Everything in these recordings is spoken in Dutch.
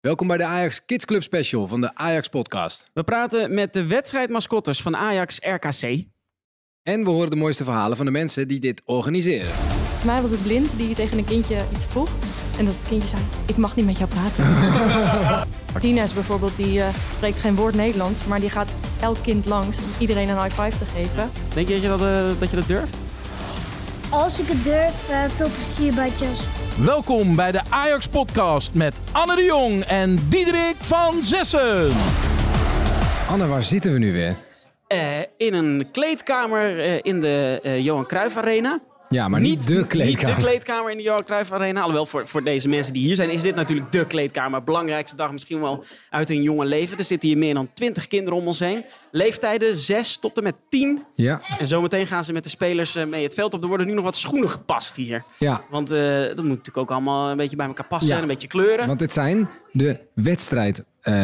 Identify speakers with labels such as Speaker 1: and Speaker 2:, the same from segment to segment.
Speaker 1: Welkom bij de Ajax Kids Club Special van de Ajax Podcast.
Speaker 2: We praten met de wedstrijdmascottes van Ajax RKC.
Speaker 1: En we horen de mooiste verhalen van de mensen die dit organiseren.
Speaker 3: Voor mij was het blind die tegen een kindje iets vroeg. En dat het kindje zei, ik mag niet met jou praten. Dines bijvoorbeeld, die eh, spreekt geen woord Nederlands. Maar die gaat elk kind langs om iedereen een high five te geven.
Speaker 2: Denk je dat je dat, eh, dat, je dat durft?
Speaker 4: Als ik het durf, eh, veel plezier bij Chelsea.
Speaker 5: Welkom bij de Ajax Podcast met Anne de Jong en Diederik van Zessen.
Speaker 1: Anne, waar zitten we nu weer?
Speaker 2: Eh, in een kleedkamer eh, in de eh, Johan Cruijff Arena.
Speaker 1: Ja, maar niet, de kleedkamer.
Speaker 2: Niet de kleedkamer in de Johan Cruijff Arena. Alhoewel, voor, voor deze mensen die hier zijn, is dit natuurlijk de kleedkamer. Belangrijkste dag misschien wel uit hun jonge leven. Er zitten hier meer dan twintig kinderen om ons heen. Leeftijden 6 tot en met 10.
Speaker 1: ja.
Speaker 2: En zometeen gaan ze met de spelers eh, mee het veld op. Er worden nu nog wat schoenen gepast hier.
Speaker 1: ja,
Speaker 2: Want eh, dat moet natuurlijk ook allemaal een beetje bij elkaar passen.
Speaker 1: Ja.
Speaker 2: En een beetje kleuren.
Speaker 1: want dit zijn de wedstrijd... eh,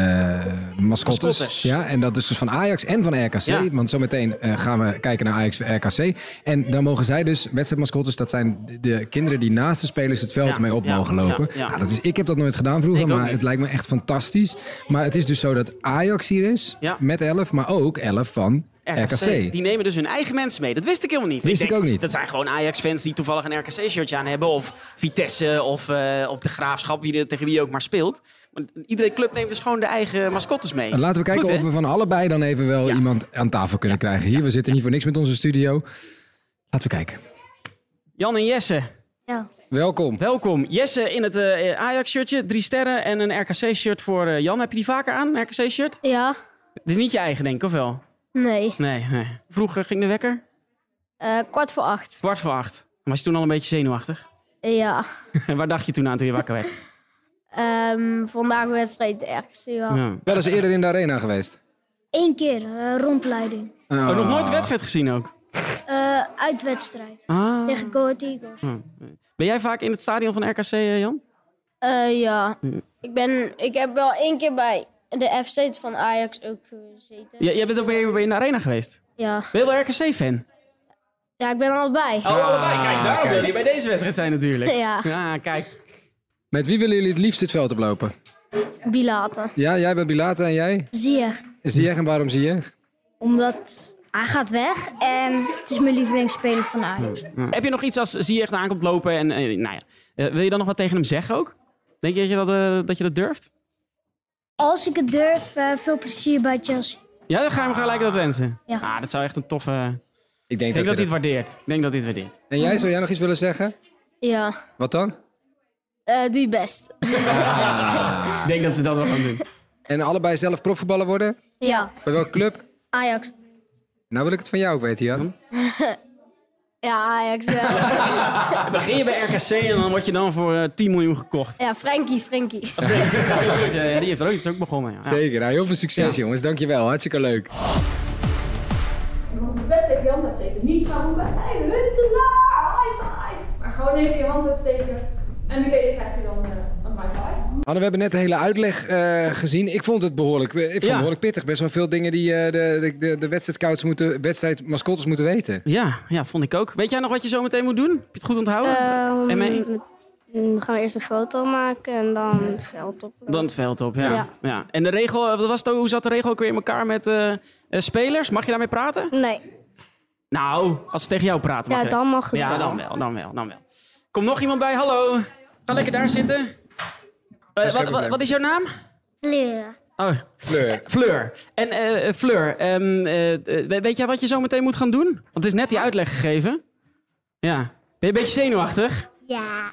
Speaker 1: mascottes.
Speaker 2: Mascottes.
Speaker 1: Ja, en dat is dus van Ajax en van RKC.
Speaker 2: Ja.
Speaker 1: Want zometeen eh, gaan we kijken naar Ajax en RKC. En dan mogen zij dus, wedstrijdmascottes, dat zijn de- de kinderen die naast de spelers het veld
Speaker 2: Ja,
Speaker 1: mee op
Speaker 2: ja,
Speaker 1: mogen lopen.
Speaker 2: ja, ja.
Speaker 1: Nou, dat is, ik heb dat nooit gedaan vroeger,
Speaker 2: Ik ook
Speaker 1: maar
Speaker 2: niet.
Speaker 1: het lijkt me echt fantastisch. Maar het is dus zo dat Ajax hier is,
Speaker 2: Ja.
Speaker 1: met 11, maar ook 11 van RKC.
Speaker 2: Die nemen dus hun eigen mensen mee. Dat wist ik helemaal niet.
Speaker 1: Wist ik
Speaker 2: denk,
Speaker 1: ook niet.
Speaker 2: Dat zijn gewoon Ajax-fans die toevallig een RKC-shirtje aan hebben. Of Vitesse of, eh, of de Graafschap, wie er, tegen wie je ook maar speelt. Maar iedere club neemt dus gewoon de eigen mascottes mee.
Speaker 1: En Laten we kijken
Speaker 2: Goed, hè?
Speaker 1: of we van allebei dan even wel
Speaker 2: Ja.
Speaker 1: iemand aan tafel kunnen krijgen hier. We zitten niet voor niks met onze studio. Laten we kijken.
Speaker 2: Jan en Jesse,
Speaker 4: Ja.
Speaker 1: Welkom.
Speaker 2: welkom. Jesse in het eh, Ajax-shirtje, drie sterren en een RKC-shirt voor eh, Jan. Heb je die vaker aan, een RKC-shirt?
Speaker 4: Ja?
Speaker 2: Het is niet je eigen, denk ik, of wel?
Speaker 4: Nee.
Speaker 2: Nee, nee. Vroeger ging de wekker?
Speaker 4: Eh, kwart voor acht.
Speaker 2: Kwart voor acht. Was je toen al een beetje zenuwachtig?
Speaker 4: Ja.
Speaker 2: Waar dacht je toen aan toen je wakker werd?
Speaker 4: Ehm, vandaag wedstrijd ergens.
Speaker 2: Ja.
Speaker 4: Ja.
Speaker 1: Wel eens dus eerder in de arena geweest.
Speaker 4: Eén keer eh, rondleiding.
Speaker 2: Oh, nog nooit de wedstrijd gezien ook?
Speaker 4: Eh, uitwedstrijd.
Speaker 2: Ah.
Speaker 4: Tegen Go Ahead Eagles.
Speaker 2: Ben jij vaak in het stadion van RKC, eh, Jan?
Speaker 6: Eh, ja, ik, ben, ik heb wel één keer bij de FC van Ajax ook gezeten.
Speaker 2: J- jij bent ook bij, bij in de arena geweest.
Speaker 6: Ja.
Speaker 2: Ben je wel RKC-fan?
Speaker 6: ja, ik ben er al bij.
Speaker 2: Oh, allebei. Kijk, daarom wil je bij deze wedstrijd zijn natuurlijk.
Speaker 6: Ja.
Speaker 2: Ja, kijk.
Speaker 1: Met wie willen jullie het liefst het veld oplopen?
Speaker 6: Bilaten.
Speaker 1: Ja, jij bent Bilate en jij?
Speaker 4: Zie je?
Speaker 2: Hm.
Speaker 1: Ziyech en waarom Ziyech?
Speaker 4: Omdat hij gaat weg en het is mijn lievelingsspeler van Ajax.
Speaker 2: Heb je nog iets als zie je echt aankomt lopen en, eh, nou ja. Eh, wil je dan nog wat tegen hem zeggen ook? Denk je dat je dat, eh, dat, je dat durft?
Speaker 4: Als ik het durf, eh, veel plezier bij Chelsea.
Speaker 2: Ja, dan ga je hem gelijk dat wensen.
Speaker 4: Ja.
Speaker 2: Ah, dat zou echt een toffe... Ik
Speaker 1: Ik denk,
Speaker 2: denk dat
Speaker 1: je
Speaker 2: hij het waardeert. Ik denk dat hij het waardeert.
Speaker 1: En jij, zou jij nog iets willen zeggen?
Speaker 6: Ja,
Speaker 1: Wat dan?
Speaker 6: Eh, doe je best.
Speaker 2: Ik denk dat ze dat wel gaan doen.
Speaker 1: En allebei zelf profvoetballer worden?
Speaker 6: Ja,
Speaker 1: Bij welke club?
Speaker 6: Ajax.
Speaker 1: Nou wil ik het van jou ook weten,
Speaker 2: Hm?
Speaker 1: Jan.
Speaker 6: Ja, Ajax wel.
Speaker 2: Begin je bij RKC en dan word je dan voor eh, 10 miljoen gekocht.
Speaker 6: ja, Frankie, Frankie.
Speaker 2: Ja, eh, die heeft er ook, is ook begonnen. Ja.
Speaker 1: Zeker. Nou, heel veel succes, jongens. Dankjewel. Hartstikke leuk.
Speaker 7: Je moet best even je hand uitsteken. Niet gaan roepen, hey, huntelaar, high five. Maar gewoon even je hand uitsteken. En wie weet krijg je dan eh, een high five.
Speaker 1: Anne, we hebben net de hele uitleg eh, gezien. Ik vond het behoorlijk, eh, ik vond het
Speaker 2: Ja.
Speaker 1: behoorlijk pittig. Best wel veel dingen die eh, de, de, de, de wedstrijdcouts moeten, wedstrijdmascottes moeten weten.
Speaker 2: Ja, ja, vond ik ook. Weet jij nog wat je zo meteen moet doen? Heb je het goed onthouden?
Speaker 6: Eh,
Speaker 2: en mee?
Speaker 6: Ehm, Dan gaan we eerst een foto maken en dan het veld op.
Speaker 2: Dan het veld op, ja. ja.
Speaker 6: Ja.
Speaker 2: En de regel, eh, wat was het, ook- hoe zat de regel ook weer in elkaar met eh, eh, spelers? Mag je daarmee praten?
Speaker 6: Nee,
Speaker 2: Nou, als ze tegen jou praten.
Speaker 6: ja,
Speaker 2: mag je-
Speaker 6: dan mag het
Speaker 2: Ja,
Speaker 6: wel.
Speaker 2: dan wel, dan wel, dan wel. Kom nog iemand bij, hallo. Ga lekker daar zitten. Eh,
Speaker 1: geen
Speaker 2: wat, wat,
Speaker 1: probleem.
Speaker 2: wat is jouw naam?
Speaker 4: Leren.
Speaker 2: Oh,
Speaker 1: Fleur.
Speaker 2: Fleur. En eh, eh, Fleur, ehm, eh, eh, we- weet jij wat je zo meteen moet gaan doen? Want het is net die uitleg gegeven. Ja. Ben je een beetje zenuwachtig?
Speaker 4: Ja.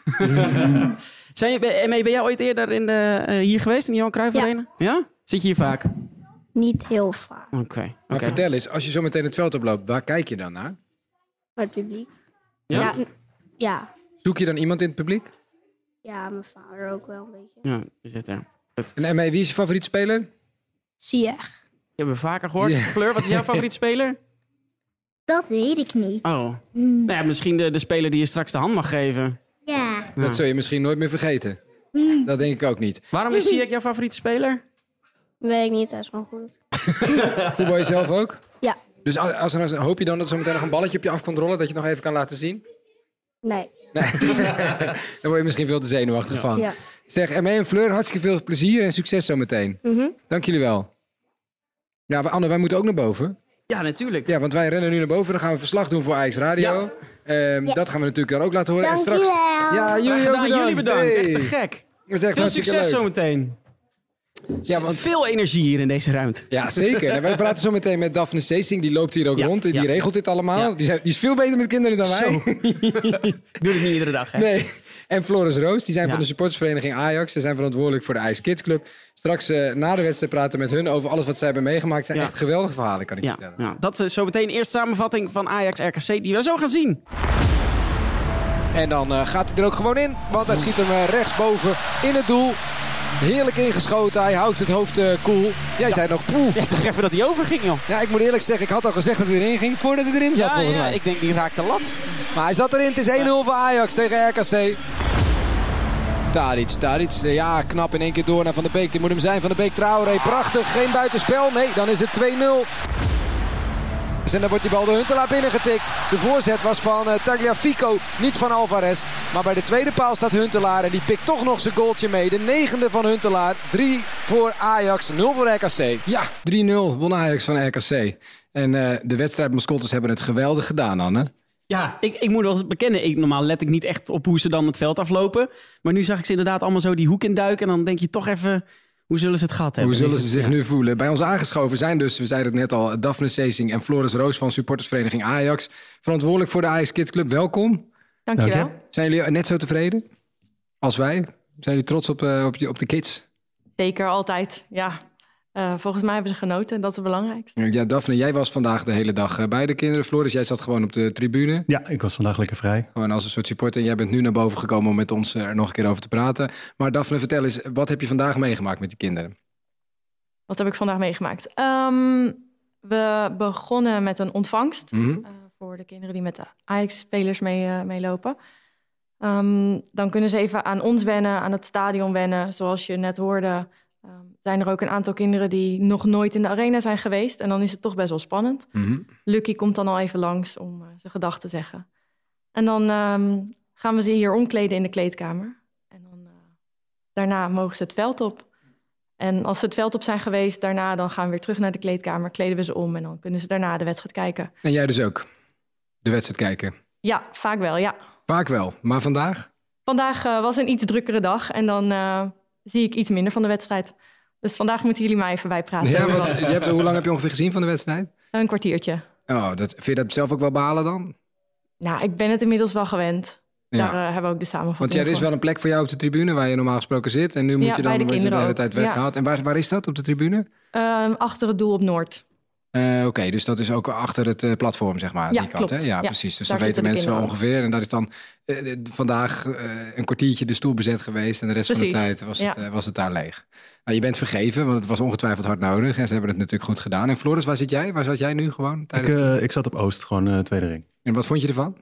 Speaker 2: Zijn je, ben, Emmy, ben jij ooit eerder in de, eh, hier geweest, in de Johan Cruijff
Speaker 6: Ja.
Speaker 2: Arena? Ja? Zit je hier vaak? Oké.
Speaker 6: Niet heel vaak.
Speaker 1: Maar
Speaker 2: oké.
Speaker 1: vertel eens, als je zo meteen het veld oploopt, waar kijk je dan naar?
Speaker 6: Maar het publiek.
Speaker 2: Ja?
Speaker 6: Ja, n- ja.
Speaker 1: Zoek je dan iemand in het publiek?
Speaker 6: Ja, mijn vader ook wel een beetje.
Speaker 2: Ja, je zit er.
Speaker 1: En ME, wie is je favoriet speler?
Speaker 6: Zie je echt.
Speaker 2: Je hebt me vaker gehoord.
Speaker 1: Ja.
Speaker 2: Fleur, wat is jouw favoriet speler?
Speaker 4: Dat weet ik niet.
Speaker 2: Oh.
Speaker 1: Hmm.
Speaker 2: Nou ja, misschien de, de speler die je straks de hand mag geven.
Speaker 4: Ja.
Speaker 2: Ja.
Speaker 1: Dat zul je misschien nooit meer vergeten. Dat denk ik ook niet.
Speaker 2: Waarom is Ziyech jouw favoriete speler?
Speaker 6: Weet ik niet, hij is gewoon goed.
Speaker 1: Voetbal jezelf ook?
Speaker 6: Ja.
Speaker 1: Dus als, als, als- hoop je dan dat zo meteen nog een balletje op je af kan rollen, dat je het nog even kan laten zien?
Speaker 6: Nee,
Speaker 1: Daar word je misschien veel te zenuwachtig van.
Speaker 6: ja.
Speaker 1: Zeg, Ermee en Fleur, hartstikke veel plezier en succes zometeen. Dank jullie wel. Ja, we- Anne, wij moeten ook naar boven.
Speaker 2: Ja, natuurlijk.
Speaker 1: Ja, want wij rennen nu naar boven. Dan gaan we verslag doen voor Ajax Radio. Ehm, Dat gaan we natuurlijk dan ook laten horen. en straks...
Speaker 4: Dankjewel.
Speaker 1: Ja, jullie
Speaker 2: Graag
Speaker 1: ook
Speaker 2: gedaan.
Speaker 1: bedankt.
Speaker 2: Jullie bedankt.
Speaker 1: Hey.
Speaker 2: Echt te gek.
Speaker 1: Dat is echt
Speaker 2: Veel
Speaker 1: hartstikke
Speaker 2: succes
Speaker 1: leuk.
Speaker 2: zometeen. Ja,
Speaker 1: want-
Speaker 2: want... Veel energie hier in deze ruimte.
Speaker 1: Ja, zeker. En wij praten zo meteen met Daphne Seesing. Die loopt hier ook
Speaker 2: Ja,
Speaker 1: rond. en Die
Speaker 2: ja.
Speaker 1: regelt dit allemaal.
Speaker 2: Ja.
Speaker 1: Die, zijn- die is veel beter met kinderen dan wij.
Speaker 2: Zo. Ik doe het niet iedere dag. Hè?
Speaker 1: Nee. En Floris Roos, die zijn
Speaker 2: Ja.
Speaker 1: van de supportersvereniging Ajax. Ze zijn verantwoordelijk voor de IJs Kids Club. Straks eh, na de wedstrijd praten we met hun over alles wat zij hebben meegemaakt. Het zijn
Speaker 2: Ja.
Speaker 1: echt geweldige verhalen, kan ik je
Speaker 2: Ja,
Speaker 1: vertellen.
Speaker 2: ja, dat is zometeen eerst samenvatting van Ajax RKC die we zo gaan zien.
Speaker 1: En dan eh, gaat hij er ook gewoon in. Want hij schiet hem eh, rechtsboven in het doel. Heerlijk ingeschoten. Hij houdt het hoofd eh, koel. Jij zei nog poeh.
Speaker 2: Ja, toch even dat hij overging, joh.
Speaker 1: Ja, ik moet eerlijk zeggen, ik had al gezegd dat hij erin ging voordat hij erin zat, volgens mij.
Speaker 2: ik denk die raakt de lat.
Speaker 1: Maar hij zat erin. Het is 1-0 voor Ajax tegen RKC. Tadic, Tadic. eh, Ja, knap in één keer door naar Van der Beek. Die moet hem zijn. Van der Beek Traoré. Prachtig. Geen buitenspel. Nee, dan is het 2-0. En dan wordt die bal door Huntelaar binnengetikt. De voorzet was van eh, Tagliafico, niet van Alvarez. Maar bij de tweede paal staat Huntelaar en die pikt toch nog zijn goaltje mee. De negende van Huntelaar. 3 voor Ajax, 0 voor RKC. Ja, 3-0 won Ajax van RKC. En eh, de wedstrijdmascottes hebben het geweldig gedaan, Anne.
Speaker 2: Ja, ik, ik moet wel eens bekennen. Ik, normaal let ik niet echt op hoe ze dan het veld aflopen. Maar nu zag ik ze inderdaad allemaal zo die hoek induiken. En dan denk je toch even, hoe zullen ze het gehad hebben?
Speaker 1: Hoe zullen
Speaker 2: Is
Speaker 1: ze
Speaker 2: het-
Speaker 1: zich
Speaker 2: ja.
Speaker 1: nu voelen? Bij ons aangeschoven zijn dus, we zeiden het net al, Daphne Seesing en Floris Roos van supportersvereniging Ajax. Verantwoordelijk voor de Ajax Kids Club. Welkom.
Speaker 3: Dankjewel.
Speaker 1: Zijn jullie net zo tevreden als wij? Zijn jullie trots op, eh, op, je- op de kids?
Speaker 3: Zeker, altijd. Ja. Eh, volgens mij hebben ze genoten en dat is het belangrijkste.
Speaker 1: Ja, Daphne, jij was vandaag de hele dag eh, bij de kinderen. Floris, jij zat gewoon op de tribune.
Speaker 8: Ja, ik was vandaag lekker vrij.
Speaker 1: Gewoon als een soort supporter. En jij bent nu naar boven gekomen om met ons eh, er nog een keer over te praten. Maar Daphne, vertel eens, wat heb je vandaag meegemaakt met die kinderen?
Speaker 3: Wat heb ik vandaag meegemaakt? Ehm, we begonnen met een ontvangst
Speaker 1: Mhm.
Speaker 3: eh, voor de kinderen die met de Ajax-spelers mee, eh, meelopen. Ehm, dan kunnen ze even aan ons wennen, aan het stadion wennen. Zoals je net hoorde, ehm, zijn er ook een aantal kinderen die nog nooit in de arena zijn geweest. En dan is het toch best wel spannend.
Speaker 1: Mhm.
Speaker 3: Lucky komt dan al even langs om eh, zijn gedachten te zeggen. En dan ehm, gaan we ze hier omkleden in de kleedkamer. En dan, eh, daarna mogen ze het veld op. En als ze het veld op zijn geweest, daarna dan gaan we weer terug naar de kleedkamer, kleden we ze om en dan kunnen ze daarna de wedstrijd kijken.
Speaker 1: En jij dus ook? De wedstrijd kijken?
Speaker 3: Ja, vaak wel, ja.
Speaker 1: Vaak wel, maar vandaag?
Speaker 3: Vandaag eh, was een iets drukkere dag en dan eh, zie ik iets minder van de wedstrijd. Dus vandaag moeten jullie mij even bijpraten.
Speaker 1: Ja, want je hebt, hoe lang heb je ongeveer gezien van de wedstrijd?
Speaker 3: Een kwartiertje.
Speaker 1: Oh, dat, vind je dat zelf ook wel behalen dan?
Speaker 3: Nou, ik ben het inmiddels wel gewend. Daar eh, hebben we ook de
Speaker 1: Want
Speaker 3: samenvatting
Speaker 1: ja, er is
Speaker 3: van.
Speaker 1: wel een plek voor jou op de tribune waar je normaal gesproken zit. En nu moet
Speaker 3: Ja,
Speaker 1: je dan
Speaker 3: bij de
Speaker 1: word je de
Speaker 3: kinderen
Speaker 1: hele
Speaker 3: ook.
Speaker 1: tijd
Speaker 3: Ja.
Speaker 1: weggehaald. En waar, waar is dat op de tribune?
Speaker 3: Ehm, achter het doel op Noord.
Speaker 1: Eh, Oké, dus dat is ook achter het eh, platform, zeg maar. aan
Speaker 3: Ja,
Speaker 1: die kant,
Speaker 3: klopt.
Speaker 1: Hè? Ja,
Speaker 3: Ja,
Speaker 1: precies. Dus
Speaker 3: daar
Speaker 1: dan weten
Speaker 3: zitten de
Speaker 1: mensen wel
Speaker 3: kinderen
Speaker 1: ongeveer. En dat is dan eh, eh, vandaag eh, een kwartiertje de stoel bezet geweest. En de rest van de
Speaker 3: Precies,
Speaker 1: tijd was, het,
Speaker 3: ja.
Speaker 1: eh, was het daar leeg. Nou, je bent vergeven, want het was ongetwijfeld hard nodig. En ze hebben het natuurlijk goed gedaan. En Floris, waar zit jij? Waar zat jij nu gewoon?
Speaker 8: Ik,
Speaker 1: Tijdens...
Speaker 8: eh, ik zat op Oost, gewoon eh, tweede ring.
Speaker 1: En wat vond je ervan?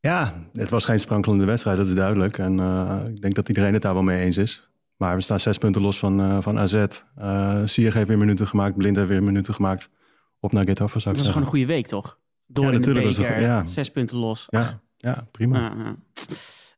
Speaker 8: Ja, het was geen sprankelende wedstrijd, dat is duidelijk. En eh, ik denk dat iedereen het daar wel mee eens is. Maar we staan zes punten los van, eh, van AZ. Eh Sier heeft weer minuten gemaakt, Blind heeft weer minuten gemaakt. Op naar Getafe zou
Speaker 2: Dat was gewoon
Speaker 8: ik zeggen.
Speaker 2: een goede week, toch? Door
Speaker 8: Ja,
Speaker 2: in de
Speaker 8: natuurlijk was het
Speaker 2: beker,
Speaker 8: goed, ja.
Speaker 2: zes punten los.
Speaker 8: Ja, ja, prima.
Speaker 2: Ja, ja.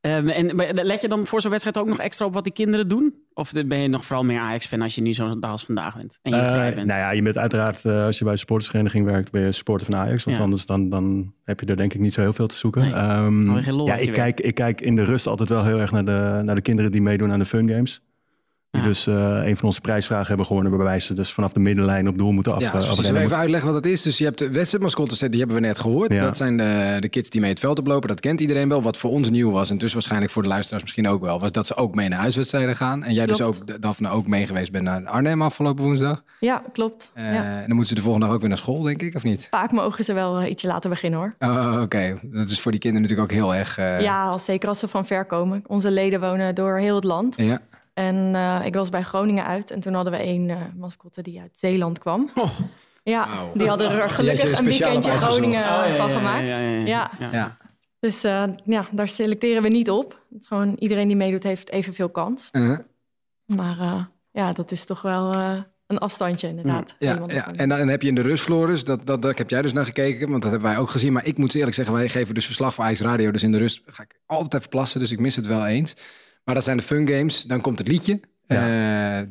Speaker 2: Ehm, en maar let je dan voor zo'n wedstrijd ook nog extra op wat die kinderen doen? Of ben je nog vooral meer Ajax-fan als je nu zo'n dag als vandaag bent? En je
Speaker 8: Eh,
Speaker 2: vrij bent?
Speaker 8: nou ja, je bent uiteraard, eh, als je bij een sportvereniging werkt, ben je supporter van Ajax. Want
Speaker 2: Ja.
Speaker 8: anders dan, dan heb je er denk ik niet zo heel veel te zoeken.
Speaker 2: Nee,
Speaker 8: Ehm,
Speaker 2: hou je geen lol
Speaker 8: ja,
Speaker 2: uit je
Speaker 8: ik kijk, ik kijk in de rust altijd wel heel erg naar de, naar de kinderen die meedoen aan de fun games. Die
Speaker 2: Ja.
Speaker 8: dus eh, een van onze prijsvragen hebben gewonnen, waarbij ze dus vanaf de middenlijn op doel moeten af.
Speaker 1: Ja,
Speaker 8: eh,
Speaker 1: dus precies.
Speaker 8: afrennen.
Speaker 1: Even uitleggen wat dat is. Dus je hebt de wedstrijdmascottes, die hebben we net gehoord.
Speaker 8: Ja.
Speaker 1: Dat zijn de, de kids die mee het veld oplopen. Dat kent iedereen wel. Wat voor ons nieuw was, en dus waarschijnlijk voor de luisteraars misschien ook wel, was dat ze ook mee naar huiswedstrijden gaan. En jij dus
Speaker 3: Klopt.
Speaker 1: ook, Daphne, ook mee geweest bent naar Arnhem afgelopen woensdag.
Speaker 3: Ja, klopt.
Speaker 1: Eh,
Speaker 3: ja.
Speaker 1: En dan moeten ze de volgende dag ook weer naar school, denk ik, of niet?
Speaker 3: Vaak mogen ze wel eh, ietsje later beginnen hoor.
Speaker 1: Oh, Oké, dat is voor die kinderen natuurlijk ook heel erg... eh,
Speaker 3: Ja, als, zeker als ze van ver komen. Onze leden wonen door heel het land.
Speaker 1: ja.
Speaker 3: En eh, ik was bij Groningen uit en toen hadden we één eh, mascotte die uit Zeeland kwam.
Speaker 2: Oh.
Speaker 3: Ja,
Speaker 1: Wauw.
Speaker 3: die hadden er
Speaker 1: Jij
Speaker 3: gelukkig
Speaker 1: is
Speaker 3: een
Speaker 1: speciaal
Speaker 3: weekendje
Speaker 1: uitgezocht.
Speaker 3: Groningen
Speaker 2: Oh, ja,
Speaker 3: van
Speaker 2: ja,
Speaker 3: gemaakt.
Speaker 2: ja,
Speaker 3: Ja,
Speaker 2: ja, ja.
Speaker 1: Ja.
Speaker 3: dus eh, ja, daar selecteren we niet op. Het is gewoon iedereen die meedoet heeft evenveel kans.
Speaker 1: Eh,
Speaker 3: Maar eh, ja, dat is toch wel eh, een afstandje inderdaad.
Speaker 1: Ja,
Speaker 3: Zeeland
Speaker 1: ja.
Speaker 3: gewoon.
Speaker 1: En dan heb je in de rust, Floris, dat, dat, dat heb jij dus naar gekeken, want dat hebben wij ook gezien. Maar ik moet eerlijk zeggen, wij geven dus verslag voor Ajax Radio, dus in de rust ga ik altijd even plassen, dus ik mis het wel eens. Maar dat zijn de fun games. Dan komt het liedje. Eh,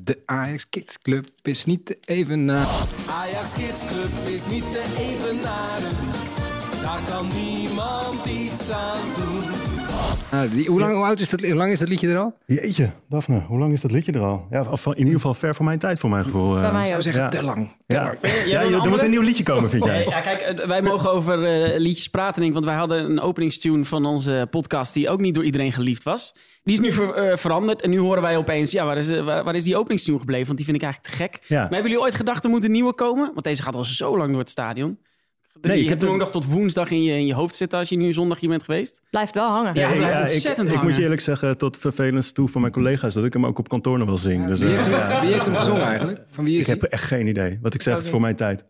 Speaker 1: de Ajax Kids Club is niet te even na.
Speaker 9: Ajax Kids Club is niet te evenaren. Daar kan niemand iets aan doen.
Speaker 1: die, hoe, lang, hoe, oud is dat, hoe lang is dat liedje er al?
Speaker 8: Jeetje, Daphne, hoe lang is dat liedje er al? Ja, of in ieder geval ver van mijn tijd, voor mijn gevoel. eh.
Speaker 3: Bij mij
Speaker 1: Ik
Speaker 3: ook.
Speaker 1: zou zeggen,
Speaker 8: Ja.
Speaker 1: te lang.
Speaker 8: ja.
Speaker 2: wil
Speaker 8: ja
Speaker 2: een
Speaker 8: joh, er moet
Speaker 2: andere?
Speaker 8: een nieuw liedje komen, vind jij.
Speaker 2: Ja, kijk, eh, wij mogen over eh, liedjes praten, denk ik. Want wij hadden een openingstune van onze podcast die ook niet door iedereen geliefd was. Die is nu ver- eh, veranderd en nu horen wij opeens... Ja, waar is, eh, waar, waar is die openingstune gebleven? Want die vind ik eigenlijk te gek.
Speaker 8: Ja.
Speaker 2: Maar hebben jullie ooit gedacht, er moet een nieuwe komen? Want deze gaat al zo lang door het stadion.
Speaker 8: ik
Speaker 2: je
Speaker 8: heb
Speaker 2: hebt hem
Speaker 8: de-
Speaker 2: ook nog tot woensdag in je, in je hoofd zitten als je nu zondag hier bent geweest.
Speaker 3: Blijft wel hangen.
Speaker 2: Ja, hij blijft
Speaker 8: ik-
Speaker 2: ontzettend
Speaker 8: ik, moet
Speaker 2: hangen.
Speaker 8: je eerlijk zeggen, tot vervelend toe van mijn collega's, dat ik hem ook op kantoor nog wel zing. Dus, eh,
Speaker 1: Wie heeft, hem,
Speaker 8: ja.
Speaker 1: wie heeft hem gezongen eigenlijk? Van wie
Speaker 8: Ik
Speaker 1: is
Speaker 8: heb
Speaker 1: hij?
Speaker 8: echt geen idee. Wat
Speaker 2: Oh,
Speaker 8: ik zeg, het is voor mijn tijd.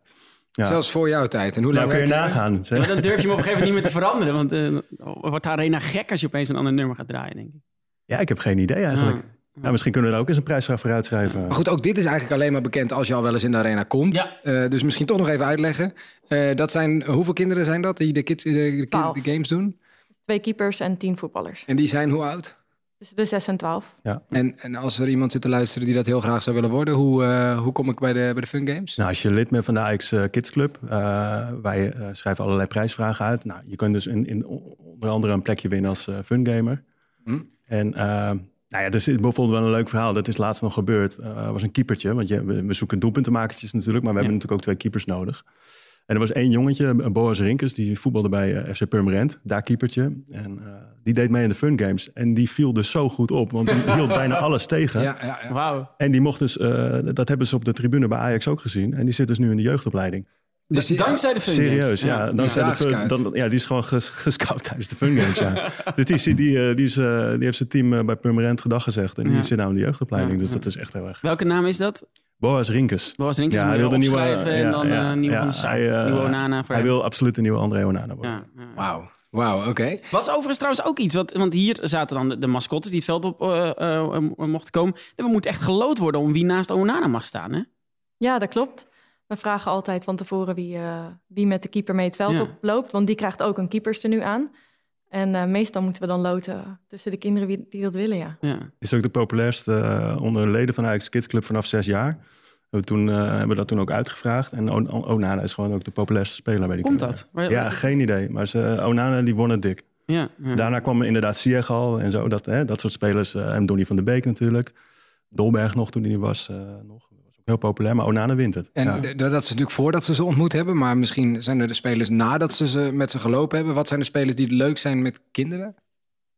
Speaker 8: Ja.
Speaker 1: Zelfs voor jouw tijd. En hoe
Speaker 8: nou
Speaker 1: lang
Speaker 8: kun je
Speaker 1: werk jij?
Speaker 8: nagaan. zeg.
Speaker 2: Nou, Maar dan durf je hem op een gegeven moment niet meer te veranderen. Want eh, wordt de arena gek als je opeens een ander nummer gaat draaien, denk ik.
Speaker 8: Ja, ik heb geen idee eigenlijk.
Speaker 2: Ah.
Speaker 8: Ja, misschien kunnen we daar ook eens een prijsvraag voor uitschrijven.
Speaker 1: Maar goed, ook dit is eigenlijk alleen maar bekend als je al wel eens in de arena komt.
Speaker 2: Ja.
Speaker 1: Eh, dus misschien toch nog even uitleggen. Eh, dat zijn, hoeveel kinderen zijn dat die de, kids, de, de,
Speaker 3: Twaalf.
Speaker 1: de games doen?
Speaker 3: Twee keepers en tien voetballers.
Speaker 1: En die zijn hoe oud?
Speaker 3: Dus de 6 en 12.
Speaker 1: En, en als er iemand zit te luisteren die dat heel graag zou willen worden, hoe, eh, hoe kom ik bij de, bij de Fun Games?
Speaker 8: Nou, als je lid bent van de Ajax eh, Kids Club, eh, wij eh, schrijven allerlei prijsvragen uit. Nou, je kunt dus in, in o- onder andere een plekje winnen als eh, fungamer.
Speaker 1: Hm.
Speaker 8: En eh, nou ja, dus is bijvoorbeeld wel een leuk verhaal. Dat is laatst nog gebeurd. Eh was een keepertje, want je, we, we zoeken doelpuntenmakertjes natuurlijk, maar we hebben natuurlijk ook twee keepers nodig. En er was één jongetje, eh, Boas Rinkers, die voetbalde bij eh, FC Purmerend, daar keepertje. En eh, die deed mee in de Fun Games. En die viel dus zo goed op, want die hield bijna alles tegen.
Speaker 1: Ja, ja, ja.
Speaker 2: Wauw.
Speaker 8: En die mocht dus, eh, dat hebben ze op de tribune bij Ajax ook gezien. En die zit dus nu in de jeugdopleiding.
Speaker 1: Dus die-
Speaker 2: Dankzij de Fun Games.
Speaker 8: Serieus, ja.
Speaker 2: Ja.
Speaker 8: Dan
Speaker 1: is
Speaker 8: zijn de
Speaker 1: daar
Speaker 8: fun-
Speaker 1: gescout.
Speaker 8: dan- ja, die is gewoon ges, gescout tijdens de Fun Games, ja. Dus die, is- die, eh, die, is, eh, die heeft zijn team eh, bij Purmerend gedag gezegd. En die
Speaker 2: Ja.
Speaker 8: zit nou in de jeugdopleiding.
Speaker 2: Ja,
Speaker 8: dus
Speaker 2: ja.
Speaker 8: dat is echt heel erg.
Speaker 2: Welke naam is dat?
Speaker 8: Boas Rinkers.
Speaker 2: Boas Rinkers
Speaker 8: Ja,
Speaker 2: moet
Speaker 8: hij
Speaker 2: je
Speaker 8: wil de nieuwe...
Speaker 2: opschrijven en
Speaker 8: ja,
Speaker 2: dan
Speaker 8: ja,
Speaker 2: eh, nieuwe
Speaker 8: ja,
Speaker 2: van de Sar,
Speaker 8: hij, eh,
Speaker 2: nieuwe Onana. voor
Speaker 8: Hij
Speaker 2: hem.
Speaker 8: wil absoluut een nieuwe André Onana worden.
Speaker 2: Ja, ja.
Speaker 1: Wauw, wauw, oké.
Speaker 2: Was overigens trouwens ook iets, wat, want hier zaten dan de, de mascottes die het veld op eh, eh, eh, mochten komen. Er moet echt geloot worden om wie naast Onana mag staan. Hè?
Speaker 3: Ja, dat klopt. We vragen altijd van tevoren wie, eh, wie met de keeper mee het veld
Speaker 2: Ja.
Speaker 3: oploopt. Want die krijgt ook een keeperstenu aan. En eh, meestal moeten we dan loten tussen de kinderen wie, die dat willen, ja.
Speaker 2: Ja.
Speaker 8: Is ook de populairste eh, onder leden van de Ajax Kids Club vanaf zes jaar. We hebben toen, eh, hebben we dat toen ook uitgevraagd. En On- On- Onana is gewoon ook de populairste speler bij die
Speaker 2: Komt
Speaker 8: kinderen.
Speaker 2: dat? Waar-
Speaker 8: eh, Ja, geen idee. Maar ze, eh, Onana die won het dik.
Speaker 2: ja, ja.
Speaker 8: Daarna kwam inderdaad Sieg al en zo. Dat, hè, dat soort spelers. eh, en Donny van de Beek natuurlijk. Dolberg nog toen hij was. eh, nog. Dat was ook heel populair. Maar Onana wint het.
Speaker 1: En
Speaker 8: Ja.
Speaker 1: d- dat is natuurlijk voordat ze ze ontmoet hebben. Maar misschien zijn er de spelers nadat ze, ze met ze gelopen hebben. Wat zijn de spelers die leuk zijn met kinderen?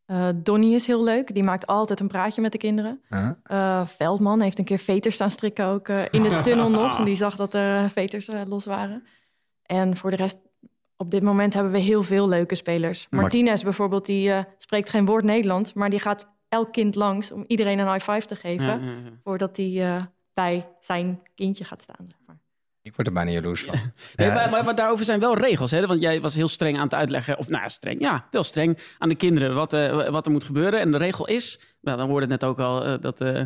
Speaker 3: Eh Donnie is heel leuk. Die maakt altijd een praatje met de kinderen. Eh, Veldman heeft een keer veters staan strikken ook eh, in de tunnel nog. En Die zag dat er eh, veters eh, los waren. En voor de rest, op dit moment hebben we heel veel leuke spelers.
Speaker 8: Maar-
Speaker 3: Martinez bijvoorbeeld, die eh, spreekt geen woord Nederlands. Maar die gaat elk kind langs om iedereen een high five te geven.
Speaker 2: Ja, ja, ja.
Speaker 3: voordat hij eh, bij zijn kindje gaat staan. Zeg maar.
Speaker 1: Ik word er bijna jaloers van.
Speaker 2: Nee,
Speaker 8: Ja.
Speaker 2: maar, maar, maar daarover zijn wel regels. Hè? Want jij was heel streng aan het uitleggen. Of nou, ja, streng. Ja, wel streng aan de kinderen wat, eh, wat er moet gebeuren. En de regel is, nou, dan hoorde het net ook al eh, dat, eh,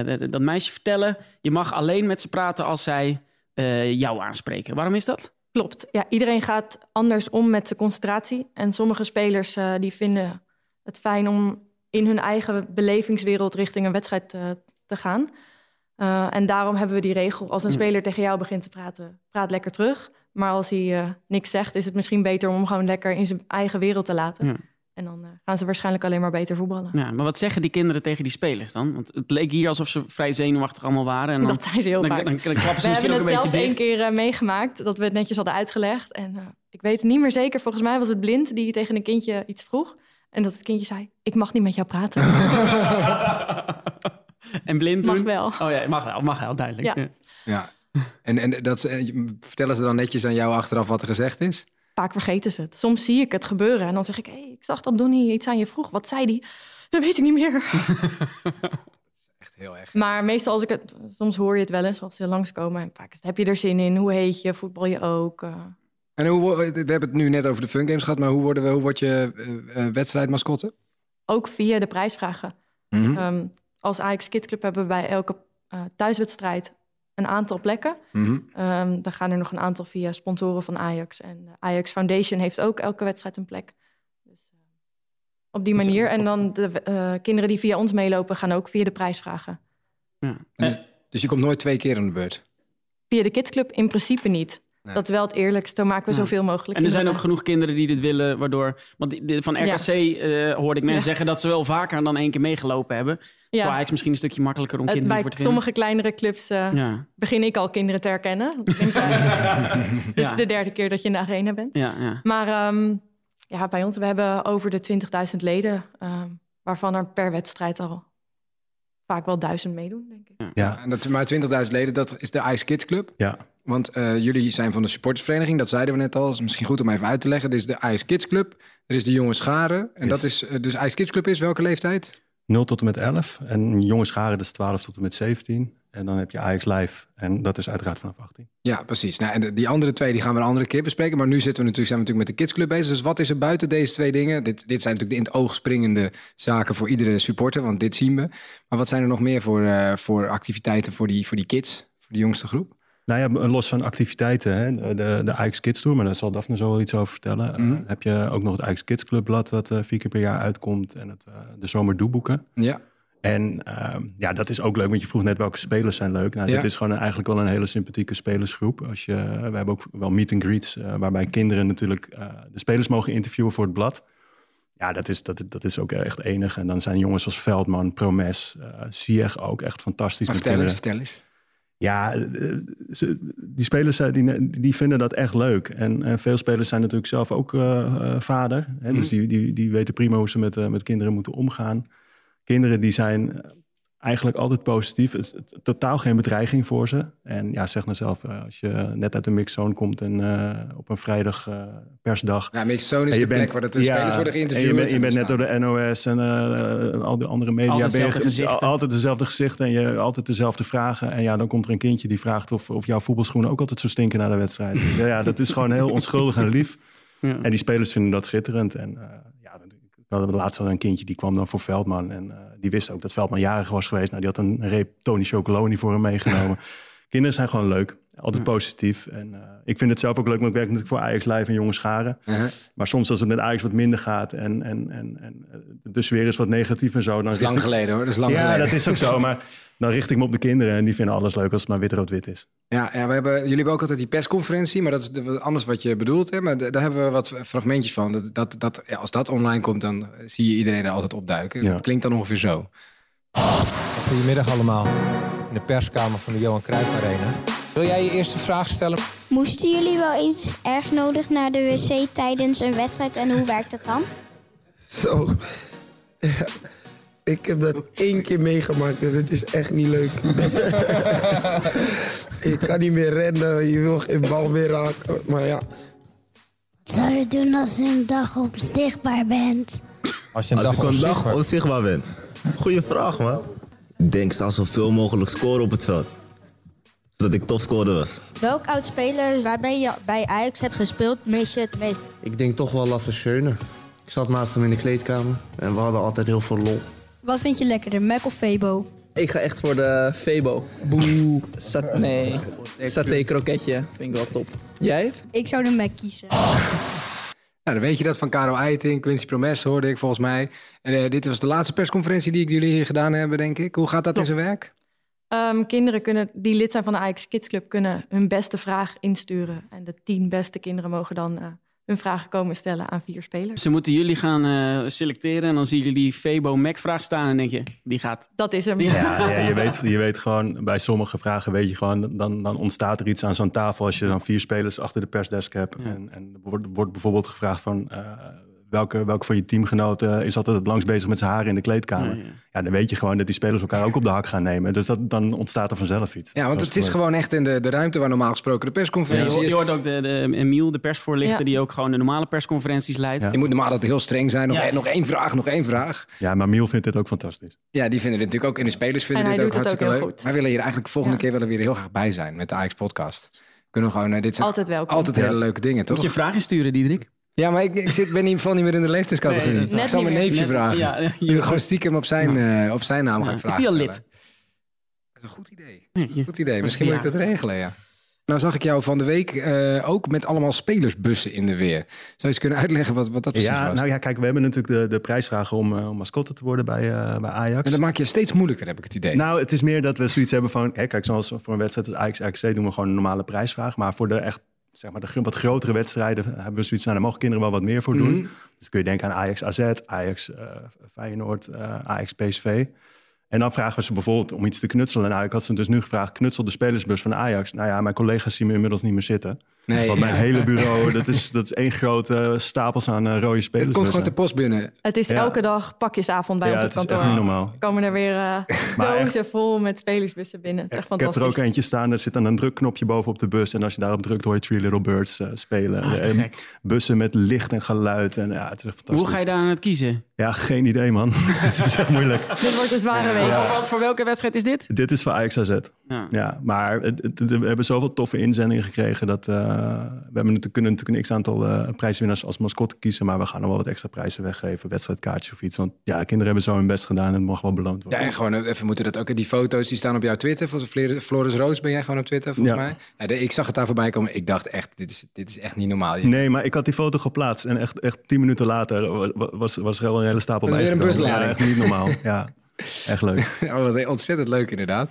Speaker 2: eh, dat- dat meisje vertellen. Je mag alleen met ze praten als zij eh, jou aanspreken. Waarom is dat?
Speaker 3: Klopt. Ja, iedereen gaat anders om met zijn concentratie. En sommige spelers eh, die vinden het fijn om in hun eigen belevingswereld richting een wedstrijd eh, te gaan. Eh, en daarom hebben we die regel. Als een
Speaker 2: Ja.
Speaker 3: speler tegen jou begint te praten, praat lekker terug. Maar als hij eh, niks zegt, is het misschien beter om hem gewoon lekker in zijn eigen wereld te laten.
Speaker 2: Ja.
Speaker 3: En dan eh, gaan ze waarschijnlijk alleen maar beter voetballen.
Speaker 2: Ja, maar wat zeggen die kinderen tegen die spelers dan? Want het leek hier alsof ze vrij zenuwachtig allemaal waren. En dan,
Speaker 3: Dat zijn ze heel
Speaker 2: dan,
Speaker 3: vaak.
Speaker 2: dan, dan klappen ze
Speaker 3: We
Speaker 2: misschien
Speaker 3: hebben
Speaker 2: ook een
Speaker 3: het
Speaker 2: beetje
Speaker 3: zelfs één
Speaker 2: dicht.
Speaker 3: keer eh, meegemaakt dat we het netjes hadden uitgelegd. En eh, ik weet het niet meer zeker. Volgens mij was het blind die tegen een kindje iets vroeg. En dat het kindje zei: Ik mag niet met jou praten.
Speaker 2: en blind
Speaker 3: Mag
Speaker 2: doen?
Speaker 3: wel.
Speaker 2: Oh ja, mag wel, mag wel, duidelijk.
Speaker 3: Ja.
Speaker 2: Ja.
Speaker 1: Ja. En, en dat, ze- en je- vertellen ze dan netjes aan jou achteraf wat er gezegd is?
Speaker 3: Vaak vergeten ze het. Soms zie ik het gebeuren en dan zeg ik: hey, ik zag dat Donnie iets aan je vroeg. Wat zei die? Dat weet ik niet meer.
Speaker 1: Echt heel erg.
Speaker 3: Maar meestal als ik het, soms hoor je het wel eens als ze langskomen. En vaak is het, heb je er zin in? Hoe heet je? Voetbal je ook? Eh,
Speaker 1: En hoe, wo- we hebben het nu net over de Fun Games gehad, maar hoe, worden we, hoe word je eh, eh, wedstrijdmascotte?
Speaker 3: ook via de prijsvragen.
Speaker 2: Mm.
Speaker 1: Mhm.
Speaker 3: Ehm, als Ajax Kids Club hebben we bij elke eh, thuiswedstrijd een aantal plekken.
Speaker 1: Mhm.
Speaker 3: Ehm dan gaan er nog een aantal via sponsoren van Ajax. En de Ajax Foundation heeft ook elke wedstrijd een plek. Dus, eh, op die manier. En dan de eh, kinderen die via ons meelopen gaan ook via de prijs vragen.
Speaker 2: Ja.
Speaker 1: En- Dus je komt nooit twee keer aan de beurt.
Speaker 3: Via de kidsclub in principe niet.
Speaker 1: Nee.
Speaker 3: Dat is wel het eerlijkste. Dan maken we
Speaker 2: Ja.
Speaker 3: zoveel mogelijk.
Speaker 2: En er zijn ook
Speaker 3: kinderen.
Speaker 2: genoeg kinderen die dit willen, waardoor... Want die- die- van RKC eh, hoorde ik mensen
Speaker 3: Ja.
Speaker 2: zeggen dat ze wel vaker dan één keer meegelopen hebben. Ja. Voor
Speaker 3: ja.
Speaker 2: Ajax misschien een stukje makkelijker om
Speaker 3: het,
Speaker 2: kinderen
Speaker 3: bij
Speaker 2: voor te vinden.
Speaker 3: sommige kleinere clubs eh,
Speaker 2: Ja,
Speaker 3: begin ik al kinderen te herkennen. Ik denk, eh, Dit
Speaker 2: Ja.
Speaker 3: is de derde keer dat je in de arena bent.
Speaker 2: ja, ja.
Speaker 3: Maar ehm, ja, bij ons, we hebben over de 20.000 leden, ehm, waarvan er per wedstrijd al vaak wel duizend meedoen, denk ik.
Speaker 8: Ja,
Speaker 1: En dat, maar 20.000 leden, dat is de Ice Kids Club.
Speaker 8: ja.
Speaker 1: Want eh, jullie zijn van de supportersvereniging, dat zeiden we net al. Is misschien goed om even uit te leggen. Dit is de Ice Kids Club. Er is de Jonge Scharen. En
Speaker 8: Yes.
Speaker 1: dat is, eh, dus Ice Kids Club is welke leeftijd?
Speaker 8: 0 tot en met 11. En jonge scharen, dat is 12 tot en met 17. En dan heb je Ajax Live. En dat is uiteraard vanaf 18.
Speaker 1: Ja, precies. Nou, en de- die andere twee die gaan we een andere keer bespreken. Maar nu zitten we natuurlijk, zijn we natuurlijk met de Kids Club bezig. Dus wat is er buiten deze twee dingen? Dit, dit zijn natuurlijk de in het oog springende zaken voor iedere supporter, want dit zien we. Maar wat zijn er nog meer voor, eh, voor activiteiten voor die, voor die kids, voor de jongste groep?
Speaker 8: Nou ja, los van activiteiten, hè, de, de Ajax Kids Tour, maar daar zal Daphne zo wel iets over vertellen. Eh,
Speaker 1: Mhm.
Speaker 8: heb je ook nog het Ajax Kids Club blad, wat eh, vier keer per jaar uitkomt. En het, eh, de zomer doeboeken.
Speaker 1: Ja,
Speaker 8: En ehm, ja, dat is ook leuk, want je vroeg net welke spelers zijn leuk. Nou,
Speaker 1: Ja.
Speaker 8: dit is gewoon een- eigenlijk wel een hele sympathieke spelersgroep. Als je, eh, we hebben ook wel meet and greets, eh, waarbij kinderen natuurlijk eh, de spelers mogen interviewen voor het blad. Ja, dat is, dat, dat is ook echt enig. En dan zijn jongens als Veldman, Promes, eh Sieg ook echt fantastisch
Speaker 1: maar
Speaker 8: met
Speaker 1: vertel eens,
Speaker 8: kinderen.
Speaker 1: vertel eens.
Speaker 8: Ja, eh, ze- die spelers eh, die, die vinden dat echt leuk. En, en veel spelers zijn natuurlijk zelf ook eh, eh, vader. Hè? Dus die, die, die weten prima hoe ze met, eh, met kinderen moeten omgaan. Kinderen die zijn eigenlijk altijd positief. Het is t- totaal geen bedreiging voor ze. En ja, zeg nou zelf, eh, als je net uit de mixzone komt en eh, op een vrijdag eh, persdag...
Speaker 1: Ja, Mix Zone is
Speaker 8: En
Speaker 1: de plek waar dat de
Speaker 8: ja,
Speaker 1: spelers worden
Speaker 8: en
Speaker 1: geïnterviewd.
Speaker 8: Je bent, je
Speaker 1: en
Speaker 8: bent net
Speaker 1: staan.
Speaker 8: door de NOS en eh, al die andere media.
Speaker 2: Altijd
Speaker 8: ben je
Speaker 2: dezelfde
Speaker 8: ge-
Speaker 2: gezichten.
Speaker 8: altijd dezelfde gezichten en je altijd dezelfde vragen. En ja, dan komt er een kindje die vraagt of, of jouw voetbalschoenen ook altijd zo stinken na de wedstrijd. Dus ja, ja, dat is gewoon heel onschuldig en lief.
Speaker 2: Ja.
Speaker 8: En die spelers vinden dat schitterend. En eh ja, we hadden laatst al een kindje die kwam dan voor Veldman. En eh, die wist ook dat Veldman jarig was geweest. Nou, die had een reep Tony Chocoloni voor hem meegenomen. Kinderen zijn gewoon leuk. Altijd positief. En eh, ik vind het zelf ook leuk, want ik werk natuurlijk voor Ajax Live en Jonge Scharen.
Speaker 1: Mhm.
Speaker 8: Maar soms als het met Ajax wat minder gaat en, en, en, en eh, de sfeer is wat negatief en zo. Dan
Speaker 1: Dat is lang
Speaker 8: richt ik-
Speaker 1: geleden hoor, dat is lang
Speaker 8: Ja,
Speaker 1: geleden.
Speaker 8: dat is ook zo. Maar dan richt ik me op de kinderen en die vinden alles leuk als het maar wit-rood-wit is.
Speaker 1: Ja, ja we hebben, jullie hebben ook altijd die persconferentie, maar dat is de- wat anders wat je bedoelt. Hè? Maar da- daar hebben we wat fragmentjes van. Dat, dat, dat, ja, als dat online komt, dan eh, zie je iedereen er altijd opduiken.
Speaker 8: Ja.
Speaker 1: Dat klinkt dan ongeveer zo. Nou,
Speaker 10: Goedemiddag allemaal. In de perskamer van de Johan Cruijff Arena. Wil jij je eerste vraag stellen?
Speaker 4: Moesten jullie wel eens erg nodig naar de wc tijdens een wedstrijd en hoe werkt dat dan?
Speaker 10: Zo. Ja. Ik heb dat één keer meegemaakt en het is echt niet leuk. je kan niet meer rennen, je wil geen bal meer raken. Maar ja.
Speaker 4: Wat zou je doen als je een dag onzichtbaar bent?
Speaker 10: Als je een
Speaker 9: Als ik een dag onzichtbaar ben. Goeie vraag, man. Denk aan zoveel mogelijk scoren op het veld. Zodat ik topscorer was.
Speaker 4: Welk oud speler waarmee je bij Ajax hebt gespeeld mis je het meest?
Speaker 10: Ik denk toch wel Lasse Schöne. Ik zat naast hem in de kleedkamer en we hadden altijd heel veel lol.
Speaker 4: Wat vind je lekkerder, Mac of Febo?
Speaker 10: Ik ga echt voor de Febo. Boe. Sat nee. Saté kroketje. Vind ik wel top. Jij?
Speaker 4: Ik zou de Mac kiezen.
Speaker 1: Nou, dan weet je dat van Karel Eiting, Quincy Promes hoorde ik volgens mij. En, eh, dit was de laatste persconferentie die ik jullie hier gedaan hebben, denk ik. Hoe gaat dat in zijn werk?
Speaker 3: Ehm, kinderen kunnen, die lid zijn van de Ajax Kids Club kunnen hun beste vraag insturen. En de tien beste kinderen mogen dan eh, hun vragen komen stellen aan vier spelers.
Speaker 2: Ze moeten jullie gaan eh, selecteren en dan zien jullie die Febo Mac-vraag staan en denk je, die gaat.
Speaker 3: Dat is hem.
Speaker 2: Ja.
Speaker 1: Ah,
Speaker 8: Ja, ja, je, weet, je weet gewoon, bij sommige vragen weet je gewoon, dan, dan ontstaat er iets aan zo'n tafel als je dan vier spelers achter de persdesk hebt. En, en er wordt, wordt bijvoorbeeld gevraagd van eh, welke, welke van je teamgenoten is altijd het langst bezig met zijn haren in de kleedkamer.
Speaker 2: Ja,
Speaker 8: Ja,
Speaker 2: ja.
Speaker 8: dan weet je gewoon dat die spelers elkaar ook op de hak gaan nemen. Dus dat, dan ontstaat er vanzelf iets.
Speaker 1: Ja, want
Speaker 8: Dat
Speaker 1: het is
Speaker 8: leuk.
Speaker 1: gewoon echt in de, de ruimte waar normaal gesproken de
Speaker 2: Je,
Speaker 1: persconferentie
Speaker 2: ho- je
Speaker 1: is.
Speaker 2: hoort ook de, de Emiel, de persvoorlichter,
Speaker 3: Ja.
Speaker 2: die ook gewoon de normale persconferenties leidt.
Speaker 8: Ja.
Speaker 1: Je moet normaal altijd heel streng zijn. Nog,
Speaker 2: Ja.
Speaker 1: één- nog één vraag, nog één vraag.
Speaker 8: Ja, maar Miel vindt dit ook fantastisch.
Speaker 1: Ja, die vinden dit natuurlijk ook. En de spelers vinden
Speaker 3: En
Speaker 1: dit
Speaker 3: hij
Speaker 1: ook
Speaker 3: doet het ook
Speaker 1: hartstikke leuk.
Speaker 3: heel
Speaker 1: Wij
Speaker 3: goed.
Speaker 1: willen hier eigenlijk de volgende
Speaker 3: Ja.
Speaker 1: keer willen we hier heel graag bij zijn met de Ajax podcast. Kunnen we gewoon, eh, dit zijn
Speaker 3: Altijd welkom.
Speaker 1: altijd hele leuke dingen, toch?
Speaker 2: Moet je vragen sturen, Diederik?
Speaker 1: Ja, maar ik, ik zit, ben in ieder geval niet meer in de leeftijdscategorie.
Speaker 2: Nee, dat is
Speaker 1: ik
Speaker 3: waar.
Speaker 1: zal mijn
Speaker 3: Net niet
Speaker 1: neefje
Speaker 2: Net-
Speaker 1: vragen.
Speaker 2: Ja, ja,
Speaker 1: Je gewoon stiekem op zijn, eh, op zijn naam
Speaker 2: Ja.
Speaker 1: gaan
Speaker 2: Is
Speaker 1: vragen.
Speaker 2: die al
Speaker 1: stellen.
Speaker 2: lid?
Speaker 1: Dat is een goed idee.
Speaker 2: Ja.
Speaker 1: Goed idee. Misschien
Speaker 2: Ja.
Speaker 1: moet ik dat regelen, ja. Nou zag ik jou van de week eh, ook met allemaal spelersbussen in de weer. Zou je eens kunnen uitleggen wat, wat dat precies
Speaker 8: ja,
Speaker 1: was?
Speaker 8: nou ja, kijk, we hebben natuurlijk de, de prijsvragen om, eh, om mascotte te worden bij, eh, bij Ajax.
Speaker 1: En dat maak je steeds moeilijker, heb ik het idee.
Speaker 8: Nou, het is meer dat we zoiets hebben van... Hè, kijk, zoals voor een wedstrijd als Ajax-RKC doen we gewoon een normale prijsvraag. Maar voor de echt zeg maar, de gro- wat grotere wedstrijden hebben we zoiets... Nou, daar mogen kinderen wel wat meer voor doen.
Speaker 1: Mhm.
Speaker 8: Dus kun je denken aan Ajax-AZ, Ajax eh Feyenoord, eh, Ajax-PSV. En dan vragen we ze bijvoorbeeld om iets te knutselen. Nou, ik had ze dus nu gevraagd, knutsel de spelersbus van Ajax. Nou ja, mijn collega's zien me inmiddels niet meer zitten.
Speaker 1: Nee,
Speaker 8: Want mijn
Speaker 1: ja.
Speaker 8: hele bureau, dat is, dat is één grote stapels aan eh, rode spelers.
Speaker 1: het komt gewoon de post binnen.
Speaker 3: Het is
Speaker 8: Ja.
Speaker 3: elke dag pakjesavond bij
Speaker 8: Ja,
Speaker 3: ons op
Speaker 8: het is
Speaker 3: kantoor.
Speaker 8: echt niet normaal.
Speaker 3: Komen er weer eh,
Speaker 8: Maar echt-
Speaker 3: dozen vol met spelersbussen binnen. Het is echt
Speaker 8: Ik heb er
Speaker 3: fantastisch.
Speaker 8: ook eentje staan, er zit dan een drukknopje boven op de bus. En als je daarop drukt, hoor je Three Little Birds eh, spelen.
Speaker 2: Ah, te
Speaker 8: En
Speaker 2: gek.
Speaker 8: bussen met licht en geluid. En, ja, het is echt fantastisch.
Speaker 2: Hoe ga je daar aan het kiezen?
Speaker 8: Ja, geen idee, man. het is echt moeilijk.
Speaker 3: Dit wordt dus een zware week.
Speaker 2: Voor, wat, voor welke wedstrijd is dit?
Speaker 8: Dit is voor Ajax AZ.
Speaker 2: Ja.
Speaker 8: Ja, maar het- het- we hebben zoveel toffe inzendingen gekregen. Dat, eh, we hebben natuurlijk, kunnen natuurlijk een x-aantal eh, prijswinnaars als mascotte kiezen. Maar we gaan nog wel wat extra prijzen weggeven. Wedstrijdkaartjes of iets. Want ja, kinderen hebben zo hun best gedaan en het mag wel beloond
Speaker 1: Ja,
Speaker 8: worden.
Speaker 1: en gewoon eh, even moeten dat ook. hè, Die foto's die staan op jouw Twitter. Volgens Fleur- Floris Roos ben jij gewoon op Twitter, volgens
Speaker 8: Ja.
Speaker 1: mij. Ja, de- ik zag het daar voorbij komen. Ik dacht echt, dit is, dit is echt niet normaal. Je-
Speaker 8: Nee, maar ik had die foto geplaatst. En echt, echt tien minuten later wa- wa- was, was er al een hele stapel
Speaker 1: Weer
Speaker 8: bij.
Speaker 1: een buslading.
Speaker 8: Ja, echt niet normaal. ja, echt leuk.
Speaker 1: Oh, wat ontzettend leuk inderdaad.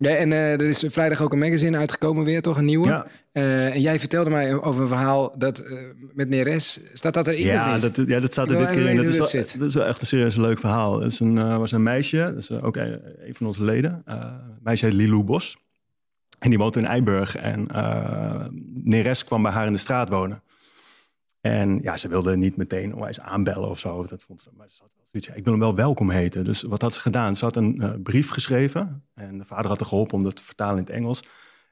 Speaker 1: Ja, en eh, er is vrijdag ook een magazine uitgekomen weer, toch? Een nieuwe.
Speaker 8: Ja.
Speaker 1: Eh, en jij vertelde mij over een verhaal dat eh, met Neres... Staat dat erin? of
Speaker 8: Ja
Speaker 1: niet?
Speaker 8: dat, ja, dat staat
Speaker 1: Ik
Speaker 8: er
Speaker 1: wil
Speaker 8: dit keer
Speaker 1: even
Speaker 8: in. Dat
Speaker 1: weten
Speaker 8: is,
Speaker 1: hoe
Speaker 8: wel,
Speaker 1: dat zit.
Speaker 8: dat is wel echt een serieus leuk verhaal. Het is een, eh, was een meisje, dat is eh, ook een, een van onze leden. Eh, een meisje heet Lilou Bos. En die woont in Eiburg. En eh Neres kwam bij haar in de straat wonen. En ja, ze wilde niet meteen onwijs aanbellen of zo. Dat vond ze, maar ze had wel zoiets, ja, ik wil hem wel welkom heten. Dus wat had ze gedaan? Ze had een eh, brief geschreven. En de vader had haar geholpen om dat te vertalen in het Engels.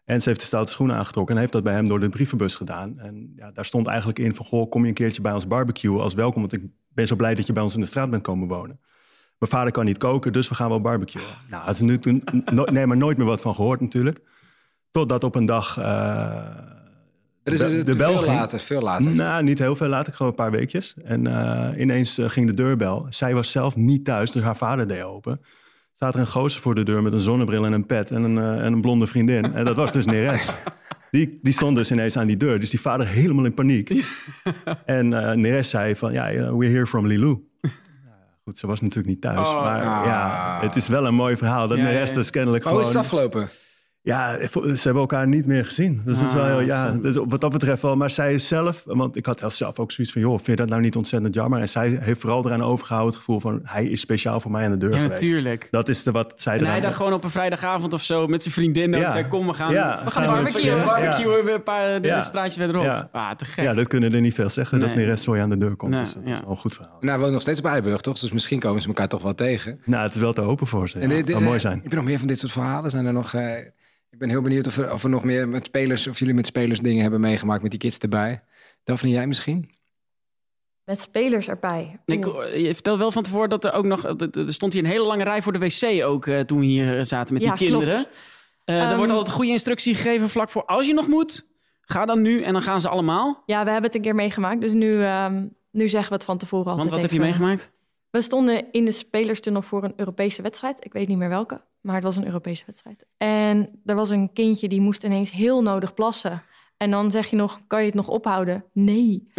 Speaker 8: En ze heeft de stoute schoenen aangetrokken en heeft dat bij hem door de brievenbus gedaan. En ja, daar stond eigenlijk in van, goh, kom je een keertje bij ons barbecue als welkom. Want ik ben zo blij dat je bij ons in de straat bent komen wonen. Mijn vader kan niet koken, dus we gaan wel barbecuen. Nou, had ze nu toen, no- nee, maar nooit meer wat van gehoord natuurlijk. Totdat op een dag... eh,
Speaker 1: Dat is,
Speaker 8: de-
Speaker 1: is het
Speaker 8: de
Speaker 1: te
Speaker 8: bel
Speaker 1: veel
Speaker 8: ging.
Speaker 1: later, veel later.
Speaker 8: nou, niet heel veel later, gewoon een paar weekjes. En eh, ineens eh, ging de deurbel. Zij was zelf niet thuis, dus haar vader deed open. Staat er een gozer voor de deur met een zonnebril en een pet en een, eh, en een blonde vriendin. En dat was dus Neres. Die, die stond dus ineens aan die deur. Dus die vader helemaal in paniek. En eh, Neres zei van, ja, eh, we're here from Lilou. Nou ja, Goed, ze was natuurlijk niet thuis.
Speaker 2: Oh.
Speaker 8: maar
Speaker 1: Ah.
Speaker 8: ja, het is wel een mooi verhaal. Dat
Speaker 2: Ja,
Speaker 8: Neres
Speaker 2: ja, ja.
Speaker 8: dus kennelijk
Speaker 1: Oh,
Speaker 8: gewoon...
Speaker 1: is het afgelopen?
Speaker 8: Ja, ze hebben elkaar niet meer gezien. Dus dat is wel
Speaker 2: Ah,
Speaker 8: heel, ja, dat is wat dat betreft wel. Maar zij is zelf, want ik had wel zelf ook zoiets van... joh, vind je dat nou niet ontzettend jammer? En zij heeft vooral eraan overgehouden het gevoel van... hij is speciaal voor mij aan de deur
Speaker 2: Ja,
Speaker 8: geweest.
Speaker 2: natuurlijk.
Speaker 8: Dat is de, wat zij
Speaker 2: En hij
Speaker 8: eraan...
Speaker 2: dacht gewoon op een vrijdagavond of zo met zijn vriendinnen.
Speaker 8: Ja.
Speaker 2: en zei, kom, we gaan,
Speaker 8: Ja,
Speaker 2: we gaan
Speaker 8: samen met
Speaker 2: barbecuen.
Speaker 8: z'n allen.
Speaker 2: Barbecuen, een paar eh, de-
Speaker 8: Ja.
Speaker 2: de straatje verderop.
Speaker 8: Ja.
Speaker 2: Ah, te gek.
Speaker 8: ja, dat kunnen er niet veel zeggen,
Speaker 2: Nee.
Speaker 8: dat Neres zo je aan de deur komt.
Speaker 2: Nee,
Speaker 8: dus dat
Speaker 2: ja.
Speaker 8: is wel een goed verhaal.
Speaker 1: Nou, hij woont nog steeds op Eiburg, toch? Dus misschien komen ze elkaar toch wel tegen.
Speaker 8: Nou, het is wel te hopen voor ze. Ja.
Speaker 1: dit-
Speaker 8: Het zou
Speaker 2: eh,
Speaker 1: dit-
Speaker 8: mooi zijn.
Speaker 1: Heb je nog meer van dit soort verhalen? Zijn er nog... eh, ik ben heel benieuwd of er, of er nog meer met spelers... of jullie met spelers dingen hebben meegemaakt met die kids erbij. Daphne, jij misschien?
Speaker 3: Met spelers erbij.
Speaker 2: Ik,
Speaker 3: Oeh.
Speaker 2: eh, je vertelde wel van tevoren dat er ook nog... dat- dat- Er stond hier een hele lange rij voor de wc ook eh, toen we hier zaten met
Speaker 3: Ja,
Speaker 2: die kinderen. Eh,
Speaker 3: Ehm,
Speaker 2: er wordt altijd goede instructie gegeven vlak voor als je nog moet. Ga dan nu en dan gaan ze allemaal.
Speaker 3: Ja, we hebben het een keer meegemaakt. Dus nu, ehm, nu zeggen we het van tevoren altijd.
Speaker 2: Want wat heb je
Speaker 3: even.
Speaker 2: meegemaakt?
Speaker 3: We stonden in de spelerstunnel voor een Europese wedstrijd. Ik weet niet meer welke, maar het was een Europese wedstrijd. En er was een kindje die moest ineens heel nodig plassen. En dan zeg je nog, kan je het nog ophouden? Nee.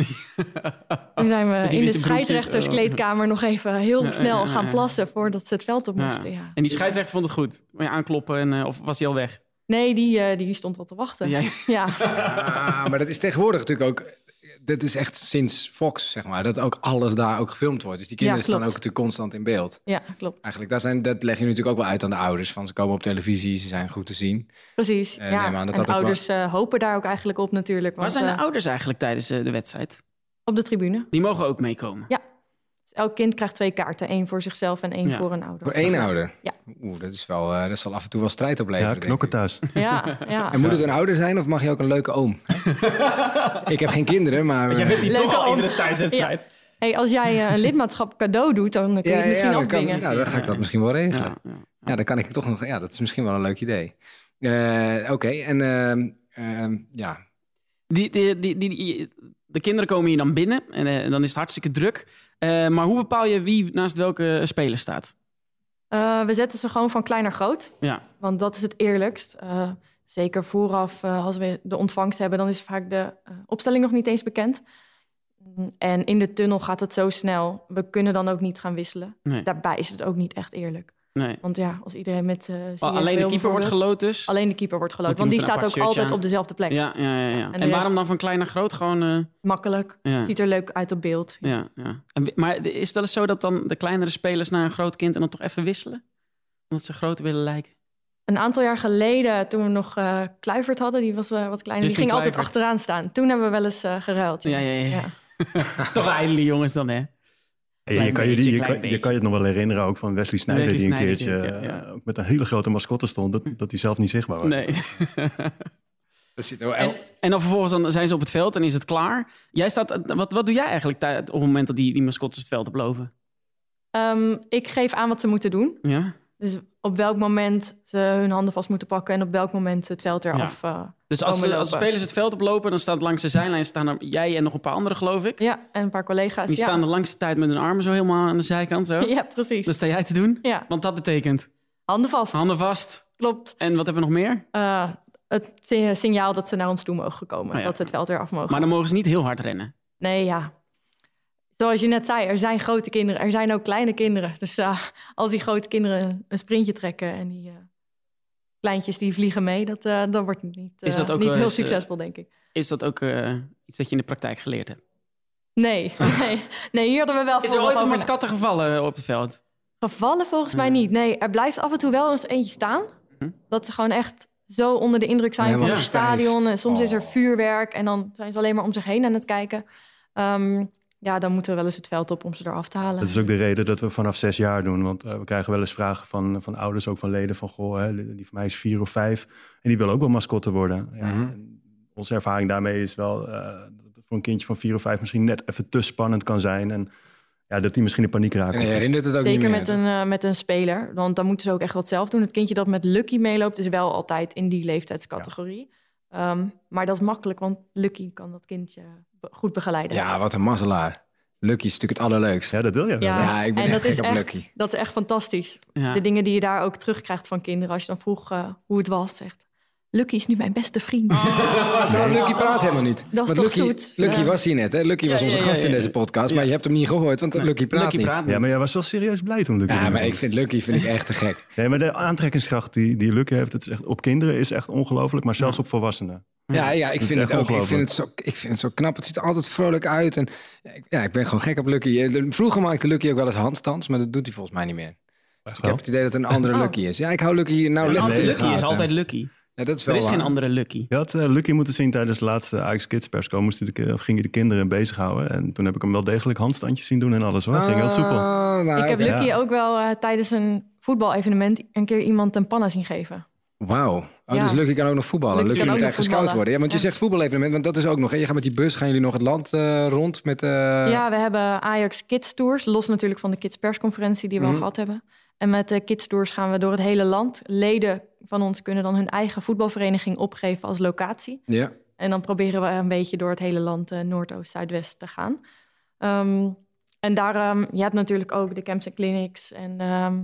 Speaker 3: Toen zijn
Speaker 2: die
Speaker 3: we
Speaker 2: witte
Speaker 3: in de
Speaker 2: broekjes. oh.
Speaker 3: scheidsrechterskleedkamer nog even heel
Speaker 2: Ja,
Speaker 3: snel
Speaker 2: ja, ja, ja.
Speaker 3: gaan plassen voordat ze het veld op
Speaker 2: Ja.
Speaker 3: moesten. Ja.
Speaker 2: En die scheidsrechter vond het goed. Moet je aankloppen en, eh, of was hij al weg?
Speaker 3: Nee, die, eh, die stond al te wachten.
Speaker 2: Jij-
Speaker 3: Ja.
Speaker 1: Ah, maar dat is tegenwoordig natuurlijk ook... Dat is echt sinds Fox, zeg maar. Dat ook alles daar ook gefilmd wordt. Dus die kinderen
Speaker 3: Ja,
Speaker 1: staan ook
Speaker 3: klopt.
Speaker 1: natuurlijk constant in beeld.
Speaker 3: ja, klopt.
Speaker 1: Eigenlijk, daar zijn, dat leg je natuurlijk ook wel uit aan de ouders. Van ze komen op televisie, ze zijn goed te zien.
Speaker 3: Precies.
Speaker 1: Eh,
Speaker 3: ja.
Speaker 1: neem aan dat
Speaker 3: en
Speaker 1: dat ook
Speaker 3: ouders eh, hopen daar ook eigenlijk op natuurlijk.
Speaker 2: Waar
Speaker 3: Want,
Speaker 2: zijn de
Speaker 3: eh,
Speaker 2: ouders eigenlijk tijdens eh, de wedstrijd?
Speaker 3: op de tribune.
Speaker 2: Die mogen ook meekomen.
Speaker 3: Dus elk kind krijgt twee kaarten. één voor zichzelf en één
Speaker 2: Ja.
Speaker 3: voor een ouder.
Speaker 1: Voor één ouder.
Speaker 3: Ja.
Speaker 1: Oeh, dat is wel, eh, dat zal af en toe wel strijd opleveren.
Speaker 8: Ja,
Speaker 1: denk
Speaker 8: knokken
Speaker 1: ik.
Speaker 8: thuis.
Speaker 3: Ja, ja.
Speaker 1: En moet het een ouder zijn of mag je ook een leuke oom? ik heb geen kinderen, maar...
Speaker 2: Jij bent die
Speaker 3: Leuke
Speaker 2: toch al
Speaker 3: om-
Speaker 2: in de thuiswedstrijd.
Speaker 3: Hey, als jij eh, een lidmaatschap cadeau doet, dan kun je het misschien
Speaker 1: dan kan-
Speaker 3: afdwingen.
Speaker 1: ja, dan ga ik dat misschien wel regelen. Ja.
Speaker 2: Ja, ja.
Speaker 1: dan kan ik toch nog... Ja, dat is misschien wel een leuk idee. Eh, Oké, en ehm, ehm, ja...
Speaker 2: Die, die, die, die, die- de kinderen komen hier dan binnen en eh, dan is het hartstikke druk. Eh, maar hoe bepaal je wie naast welke speler staat?
Speaker 3: Eh, we zetten ze gewoon van klein naar groot,
Speaker 2: Ja,
Speaker 3: want dat is het eerlijkst. Eh, Zeker vooraf, eh, als we de ontvangst hebben, dan is vaak de eh, opstelling nog niet eens bekend. Mm, En in de tunnel gaat het zo snel. We kunnen dan ook niet gaan wisselen.
Speaker 2: Nee.
Speaker 3: Daarbij is het ook niet echt eerlijk.
Speaker 2: Nee. Oh,
Speaker 3: Want ja, als iedereen met... eh, CF wil
Speaker 2: alleen de keeper wordt
Speaker 3: bijvoorbeeld-
Speaker 2: geloot dus?
Speaker 3: Alleen de keeper wordt geloot.
Speaker 2: Want
Speaker 3: Want
Speaker 2: die
Speaker 3: die
Speaker 2: moet een
Speaker 3: staat ook
Speaker 2: apart shirtje
Speaker 3: altijd
Speaker 2: aan.
Speaker 3: op dezelfde plek.
Speaker 2: Ja, ja, ja. ja. En,
Speaker 3: de
Speaker 2: waarom
Speaker 3: rest-
Speaker 2: dan van klein naar groot? Gewoon, eh,
Speaker 3: Makkelijk.
Speaker 2: Ja.
Speaker 3: Ziet er leuk uit op beeld.
Speaker 2: ja. Ja, En wi- maar is dat eens zo dat dan de kleinere spelers naar een groot kind en dan toch even wisselen? Omdat ze groter willen lijken?
Speaker 3: Een aantal jaar geleden, toen we nog eh, Kluivert hadden, die was eh, wat kleiner, die
Speaker 2: Justin
Speaker 3: ging altijd
Speaker 2: Kluivert.
Speaker 3: achteraan staan. Toen hebben we wel eens eh, geruild.
Speaker 2: Ja, ja, ja. toch ijdele jongens dan, hè?
Speaker 8: Ja, je,
Speaker 2: Klein
Speaker 8: kan je, die-
Speaker 2: beetje,
Speaker 8: je,
Speaker 2: klein
Speaker 8: kan, je
Speaker 2: beetje.
Speaker 8: kan je het nog wel herinneren ook van Wesley Sneijder,
Speaker 2: Wesley
Speaker 8: die een
Speaker 2: Sneijder,
Speaker 8: keertje
Speaker 2: ja, ja.
Speaker 8: eh, ook met een hele grote mascotte stond, dat, dat hij zelf niet zichtbaar was.
Speaker 2: Nee.
Speaker 1: Dat zit wel
Speaker 2: en, en dan vervolgens dan zijn ze op het veld en is het klaar. Jij staat, eh, wat, wat doe jij eigenlijk tij- op het moment dat die, die mascottes het veld oplopen?
Speaker 3: Ehm, ik geef aan wat ze moeten doen.
Speaker 2: Ja?
Speaker 3: Dus op welk moment ze hun handen vast moeten pakken en op welk moment ze het veld eraf. eh
Speaker 2: Dus als,
Speaker 3: komen
Speaker 2: de, als de
Speaker 3: lopen.
Speaker 2: spelers het veld oplopen, dan staat langs de zijlijn staan er, jij en nog een paar anderen, geloof ik.
Speaker 3: Ja, en een paar collega's.
Speaker 2: Die
Speaker 3: ja.
Speaker 2: staan Dus- de langste tijd met hun armen zo helemaal aan de zijkant. Zo.
Speaker 3: Ja, precies.
Speaker 2: Dat sta jij te doen.
Speaker 3: Ja.
Speaker 2: Want dat betekent.
Speaker 3: Handen vast.
Speaker 2: Handen vast.
Speaker 3: Klopt.
Speaker 2: En wat hebben we nog meer?
Speaker 3: Eh, het si- signaal dat ze naar ons toe mogen komen.
Speaker 2: Oh ja.
Speaker 3: Dat ze het veld eraf mogen.
Speaker 2: Maar dan mogen ze niet heel hard rennen.
Speaker 3: Nee, ja. Zoals je net zei, er zijn grote kinderen. Er zijn ook kleine kinderen. Dus eh, als die grote kinderen een sprintje trekken en die eh, kleintjes die vliegen mee, dat, eh, dan wordt het niet, eh,
Speaker 2: Is dat ook
Speaker 3: niet
Speaker 2: wel
Speaker 3: heel
Speaker 2: eens, eh,
Speaker 3: succesvol, denk ik.
Speaker 2: Is dat ook eh, iets dat je in de praktijk geleerd hebt?
Speaker 3: Nee, nee, nee, hier hadden we wel
Speaker 2: Oh. Is er
Speaker 3: vooraf
Speaker 2: ooit een
Speaker 3: over na-
Speaker 2: mascotte gevallen op het veld?
Speaker 3: Gevallen volgens mij niet. Nee, er blijft af en toe wel eens eentje staan.
Speaker 2: Hm?
Speaker 3: Dat ze gewoon echt zo onder de indruk zijn
Speaker 2: Helemaal
Speaker 3: van het
Speaker 2: verstijfd.
Speaker 3: stadion. En soms is
Speaker 8: Oh.
Speaker 3: er vuurwerk en dan zijn ze alleen maar om zich heen aan het kijken. Ehm, ja, dan moeten we wel eens het veld op om ze eraf te halen.
Speaker 8: Dat is ook de reden dat we vanaf zes jaar doen. Want eh, we krijgen wel eens vragen van, van ouders, ook van leden van... Goh, hè, die van mij is vier of vijf. En die wil ook wel mascotte worden. Ja,
Speaker 1: Mhm.
Speaker 8: en onze ervaring daarmee is wel... eh, dat het voor een kindje van vier of vijf misschien net even te spannend kan zijn. En ja, dat die misschien in paniek raken.
Speaker 1: En je herinnert het ook
Speaker 3: Zeker
Speaker 1: niet meer.
Speaker 3: met, een, eh, met een speler. Want dan moeten ze ook echt wat zelf doen. Het kindje dat met Lucky meeloopt is wel altijd in die leeftijdscategorie. Ehm, maar dat is makkelijk, want Lucky kan dat kindje be- goed begeleiden.
Speaker 1: Ja, wat een mazzelaar. Lucky is natuurlijk het allerleukst. Ja,
Speaker 8: dat wil je
Speaker 1: Ja, ik ben
Speaker 3: en
Speaker 1: echt
Speaker 3: dat is
Speaker 1: gek op
Speaker 3: echt,
Speaker 1: Lucky.
Speaker 3: Dat is echt fantastisch.
Speaker 1: Ja.
Speaker 3: De dingen die je daar ook terugkrijgt van kinderen. Als je dan vroeg eh, hoe het was, zegt... Lucky is nu mijn beste vriend.
Speaker 1: Oh, Terwijl Lucky praat helemaal niet.
Speaker 3: Dat is
Speaker 1: Want
Speaker 3: toch
Speaker 1: Lucky,
Speaker 3: zoet?
Speaker 1: Lucky
Speaker 3: Ja.
Speaker 1: was hier net, hè? Lucky was
Speaker 3: Ja,
Speaker 1: onze
Speaker 3: ja, ja,
Speaker 1: gast in
Speaker 3: ja,
Speaker 1: deze podcast, maar je hebt hem niet gehoord, want Lucky praat niet.
Speaker 8: Ja, maar jij was wel serieus blij toen Lucky
Speaker 1: Ja, maar
Speaker 8: binnenkwam.
Speaker 1: ik vind Lucky vind ik echt te gek.
Speaker 8: Nee, maar de aantrekkingskracht die, die Lucky heeft het is echt, op kinderen is echt ongelooflijk. Maar zelfs op volwassenen.
Speaker 1: Ja, ja ik,
Speaker 8: Dat is
Speaker 1: vind
Speaker 8: echt
Speaker 1: het ook, ik,
Speaker 8: ongelooflijk.
Speaker 1: vind het zo, ik vind het zo knap. Het ziet er altijd vrolijk uit. En, ja, ik ben gewoon gek op Lucky. Eh, Vroeger maakte Lucky ook wel eens handstands, maar dat doet hij volgens mij niet meer. Dus ik
Speaker 2: wel?
Speaker 1: heb het idee dat het een andere
Speaker 2: Oh.
Speaker 1: Lucky is. Ja, ik hou Lucky nou
Speaker 2: Ja,
Speaker 1: licht
Speaker 2: altijd
Speaker 1: in de
Speaker 2: Lucky is
Speaker 1: gaten.
Speaker 2: altijd Lucky.
Speaker 1: Ja, dat is
Speaker 2: er
Speaker 1: wel
Speaker 2: is geen
Speaker 1: waar.
Speaker 2: andere Lucky.
Speaker 8: Je had eh, Lucky moeten zien tijdens de laatste Ajax Kids persco. Moest hij de, ki- of ging hij de kinderen bezighouden. En toen heb ik hem wel degelijk handstandjes zien doen en alles hoor. ging heel soepel.
Speaker 1: Ah, nou,
Speaker 3: ik heb
Speaker 8: oké.
Speaker 3: Lucky
Speaker 8: Ja.
Speaker 3: ook wel eh, tijdens een voetbalevenement... een keer iemand een panna zien geven.
Speaker 1: Wauw. Oh,
Speaker 3: Ja.
Speaker 1: dus Lucky kan ook nog voetballen.
Speaker 3: Lucky
Speaker 1: Lucky,
Speaker 3: kan
Speaker 1: moet
Speaker 3: ook
Speaker 1: echt
Speaker 3: nog
Speaker 1: gescout
Speaker 3: voetballen.
Speaker 1: worden. Ja, want je
Speaker 3: Ja.
Speaker 1: zegt voetbalevenement, want dat is ook nog. Hè? Je gaat met die bus, gaan jullie nog het land eh, rond met... eh,
Speaker 3: Ja, we hebben Ajax Kids Tours, los natuurlijk van de Kids persconferentie die we
Speaker 1: Mhm.
Speaker 3: al gehad hebben. En met de Kids Tours gaan we door het hele land. Leden van ons kunnen dan hun eigen voetbalvereniging opgeven als locatie.
Speaker 1: ja.
Speaker 3: En dan proberen we een beetje door het hele land, eh, Noordoost, Zuidwest, te gaan. Ehm, en daar, ehm, je hebt natuurlijk ook de camps en clinics en ehm,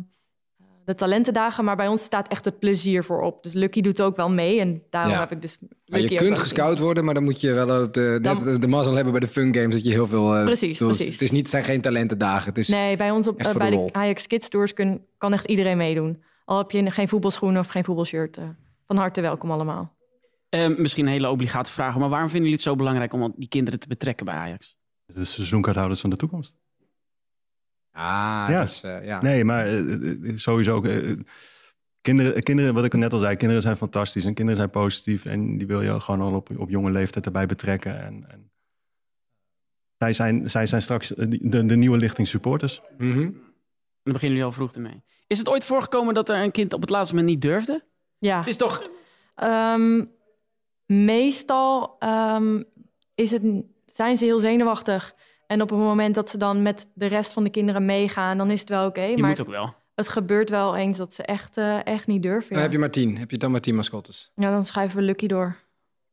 Speaker 3: de talentendagen. Maar bij ons staat echt het plezier voor op. Dus Lucky doet ook wel mee en daarom
Speaker 1: Ja.
Speaker 3: heb ik dus
Speaker 1: Maar je
Speaker 3: Lucky ook
Speaker 1: kunt
Speaker 3: wel
Speaker 1: gescout worden, maar dan moet je wel op de,
Speaker 3: Dan-
Speaker 1: de, de mazzel hebben bij de fun games dat je heel veel... eh,
Speaker 3: Precies,
Speaker 1: doels-
Speaker 3: precies.
Speaker 1: Het is niet, zijn geen talentendagen. Het is,
Speaker 3: nee, bij ons op,
Speaker 1: echt
Speaker 3: eh,
Speaker 1: voor de
Speaker 3: bij de,
Speaker 1: lol.
Speaker 3: Ajax Kids Tours kun- kan echt iedereen meedoen. Al heb je geen voetbalschoenen of geen voetbalshirt. eh, van harte welkom allemaal.
Speaker 2: Eh, misschien een hele obligate vraag, maar waarom vinden jullie het zo belangrijk om al die kinderen te betrekken bij Ajax?
Speaker 8: De seizoenkaarthouders van de toekomst.
Speaker 1: Ah,
Speaker 8: Ja.
Speaker 1: dat is, eh, ja.
Speaker 8: Nee, maar eh, eh, sowieso ook... eh, eh, Kinderen, eh, kinderen, wat ik net al zei, kinderen zijn fantastisch en kinderen zijn positief. En die wil je gewoon al op, op jonge leeftijd erbij betrekken. En, en zij, zijn, zij zijn straks eh, die- de, de nieuwe lichting supporters.
Speaker 1: Mhm.
Speaker 2: Dan beginnen jullie al vroeg ermee. Is het ooit voorgekomen dat er een kind op het laatste moment niet durfde?
Speaker 3: Ja.
Speaker 2: Het is toch...
Speaker 3: Ehm, meestal ehm, is het, zijn ze heel zenuwachtig. En op het moment dat ze dan met de rest van de kinderen meegaan, dan is het wel oké.
Speaker 1: Je
Speaker 3: maar
Speaker 1: moet ook wel.
Speaker 3: Het gebeurt wel eens dat ze echt, eh, echt niet durven.
Speaker 1: Dan
Speaker 3: Ja.
Speaker 1: heb je maar tien. Heb je dan maar tien mascottes.
Speaker 3: ja, dan schuiven we Lucky door.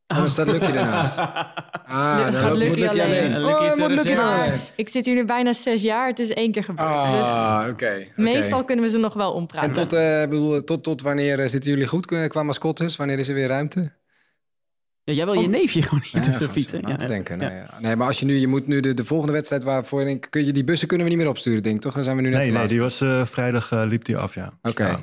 Speaker 1: Oh, dan staat Lucky ernaast. Ah,
Speaker 3: gaat
Speaker 1: dan
Speaker 3: Lucky
Speaker 1: moet Lucky alleen.
Speaker 3: alleen.
Speaker 1: Oh,
Speaker 3: Lucky
Speaker 1: hij
Speaker 3: is
Speaker 1: moet
Speaker 3: er
Speaker 1: Lucky
Speaker 3: zelf.
Speaker 1: alleen.
Speaker 3: Ik zit hier nu bijna zes jaar. Het is één keer gebeurd. dus
Speaker 1: Ah, oké. oké.
Speaker 3: meestal kunnen we ze nog wel ompraten.
Speaker 1: En tot, eh, ik bedoel, tot, tot wanneer eh, zitten jullie goed eh, qua mascottes? Wanneer is er weer ruimte?
Speaker 2: Ja, jij wil je neefje gewoon niet tussen fietsen.
Speaker 1: Ja,
Speaker 2: Ja,
Speaker 1: te denken.
Speaker 2: ja.
Speaker 1: Nee, ja. nee, maar als je nu, je moet nu de, de volgende wedstrijd waarvoor denk, kun je die bussen kunnen we niet meer opsturen, denk ik, toch? Dan zijn we nu net
Speaker 8: Nee,
Speaker 1: te
Speaker 8: nee,
Speaker 1: laat.
Speaker 8: die was eh, vrijdag eh, liep die af, ja.
Speaker 1: Oké.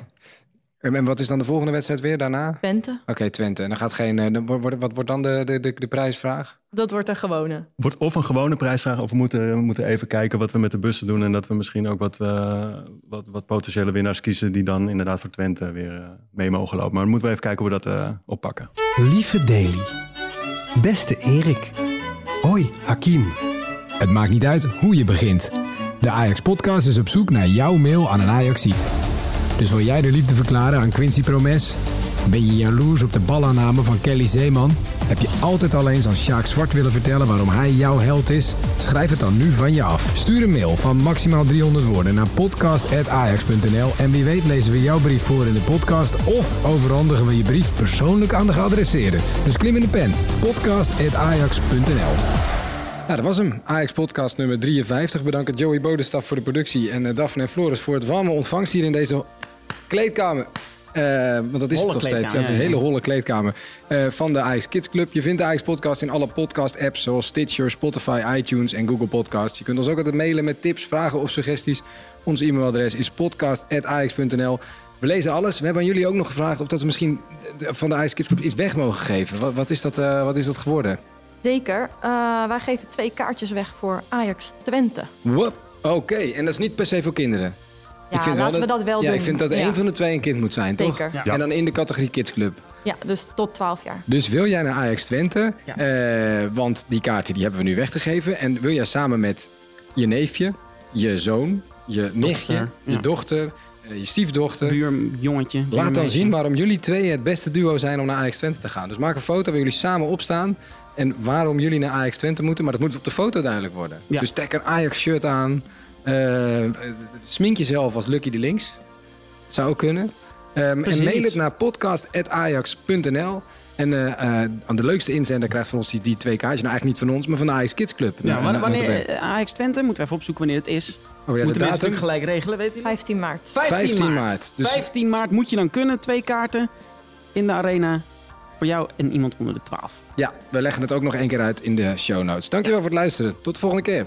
Speaker 1: En, en wat is dan de volgende wedstrijd weer daarna?
Speaker 3: Twente.
Speaker 1: Oké, Twente. En dan gaat geen. eh, dan wordt, wat wordt dan de, de, de, de prijsvraag?
Speaker 3: Dat wordt een gewone.
Speaker 8: Wordt of een gewone prijsvraag, of we moeten, we moeten even kijken wat we met de bussen doen. En dat we misschien ook wat, eh, wat, wat potentiële winnaars kiezen die dan inderdaad voor Twente weer eh, mee mogen lopen. Maar dan moeten we even kijken hoe we dat eh, oppakken.
Speaker 11: Lieve Deli. Beste Erik. Hoi, Hakim.
Speaker 12: Het maakt niet uit hoe je begint. De Ajax Podcast is op zoek naar jouw mail aan een Ajaxiet. Dus wil jij de liefde verklaren aan Quincy Promes? Ben je jaloers op de balaanname van Kelly Zeeman? Heb je altijd al eens aan Sjaak Zwart willen vertellen waarom hij jouw held is? Schrijf het dan nu van je af. Stuur een mail van maximaal 300 woorden naar podcast.ajax.nl en wie weet lezen we jouw brief voor in de podcast of overhandigen we je brief persoonlijk aan de geadresseerde. Dus klim in de pen. podcast.ajax.nl
Speaker 1: Nou, dat was hem. Ajax Podcast nummer 53. Bedankt aan Joey Bodenstaf voor de productie en eh, Daphne en Floris voor het warme ontvangst hier in deze kleedkamer. Eh, want dat is
Speaker 2: Holle
Speaker 1: het toch steeds.
Speaker 2: kleedkamer,
Speaker 1: Ja,
Speaker 2: ja,
Speaker 1: een hele
Speaker 2: ja.
Speaker 1: holle kleedkamer. eh, van de Ajax Kids Club. Je vindt de Ajax Podcast in alle podcast-apps zoals Stitcher, Spotify, iTunes en Google Podcasts. Je kunt ons ook altijd mailen met tips, vragen of suggesties. Ons e-mailadres is podcast.ajax.nl. We lezen alles. We hebben aan jullie ook nog gevraagd of dat we misschien eh, van de Ajax Kids Club iets weg mogen geven. Wat, wat, is, dat, eh, wat is dat geworden?
Speaker 3: Zeker. Eh, wij geven twee kaartjes weg voor Ajax Twente.
Speaker 1: Wop. Oké, en dat is niet per se voor kinderen.
Speaker 3: Ja, laten we dat wel
Speaker 1: ja,
Speaker 3: doen.
Speaker 1: Ik vind dat
Speaker 3: Ja.
Speaker 1: één van de twee een kind moet zijn, toch?
Speaker 3: Zeker. Ja.
Speaker 1: En dan in de categorie kidsclub.
Speaker 3: Ja, dus tot 12 jaar.
Speaker 1: Dus wil jij naar Ajax Twente? Eh, want die kaarten die hebben we nu weg te geven. En wil jij samen met je neefje, je zoon, je nichtje, je
Speaker 2: ja.
Speaker 1: dochter, eh, je stiefdochter...
Speaker 2: Buurjongetje.
Speaker 1: Laat dan
Speaker 2: buurmeisje.
Speaker 1: zien waarom jullie twee het beste duo zijn om naar Ajax Twente te gaan. Dus maak een foto waar jullie samen opstaan. En waarom jullie naar Ajax Twente moeten. Maar dat moet op de foto duidelijk worden.
Speaker 2: Ja.
Speaker 1: Dus trek een Ajax shirt aan. Eh, eh, smink jezelf als Lucky de Links. Zou ook kunnen. Ehm, en
Speaker 2: Precies.
Speaker 1: mail het naar podcast.ajax.nl. En eh, eh, aan de leukste inzender krijgt van ons die, die twee kaartjes. Nou, eigenlijk niet van ons, maar van de Ajax Kids Club.
Speaker 2: Ja,
Speaker 1: Nou,
Speaker 2: wanneer,
Speaker 1: nou,
Speaker 2: wanneer-
Speaker 1: notabene.
Speaker 2: eh, Ajax Twente, moeten we even opzoeken wanneer het is.
Speaker 1: de
Speaker 2: moeten we
Speaker 1: datum?
Speaker 2: natuurlijk gelijk regelen, weet u?
Speaker 3: 15 maart.
Speaker 2: 15,
Speaker 1: 15
Speaker 2: maart.
Speaker 1: maart, dus-
Speaker 2: 15 maart moet je dan kunnen. Twee kaarten in de arena voor jou en iemand onder de 12.
Speaker 1: ja, we leggen het ook nog één keer uit in de show notes. Dankjewel voor het luisteren. Tot de volgende keer.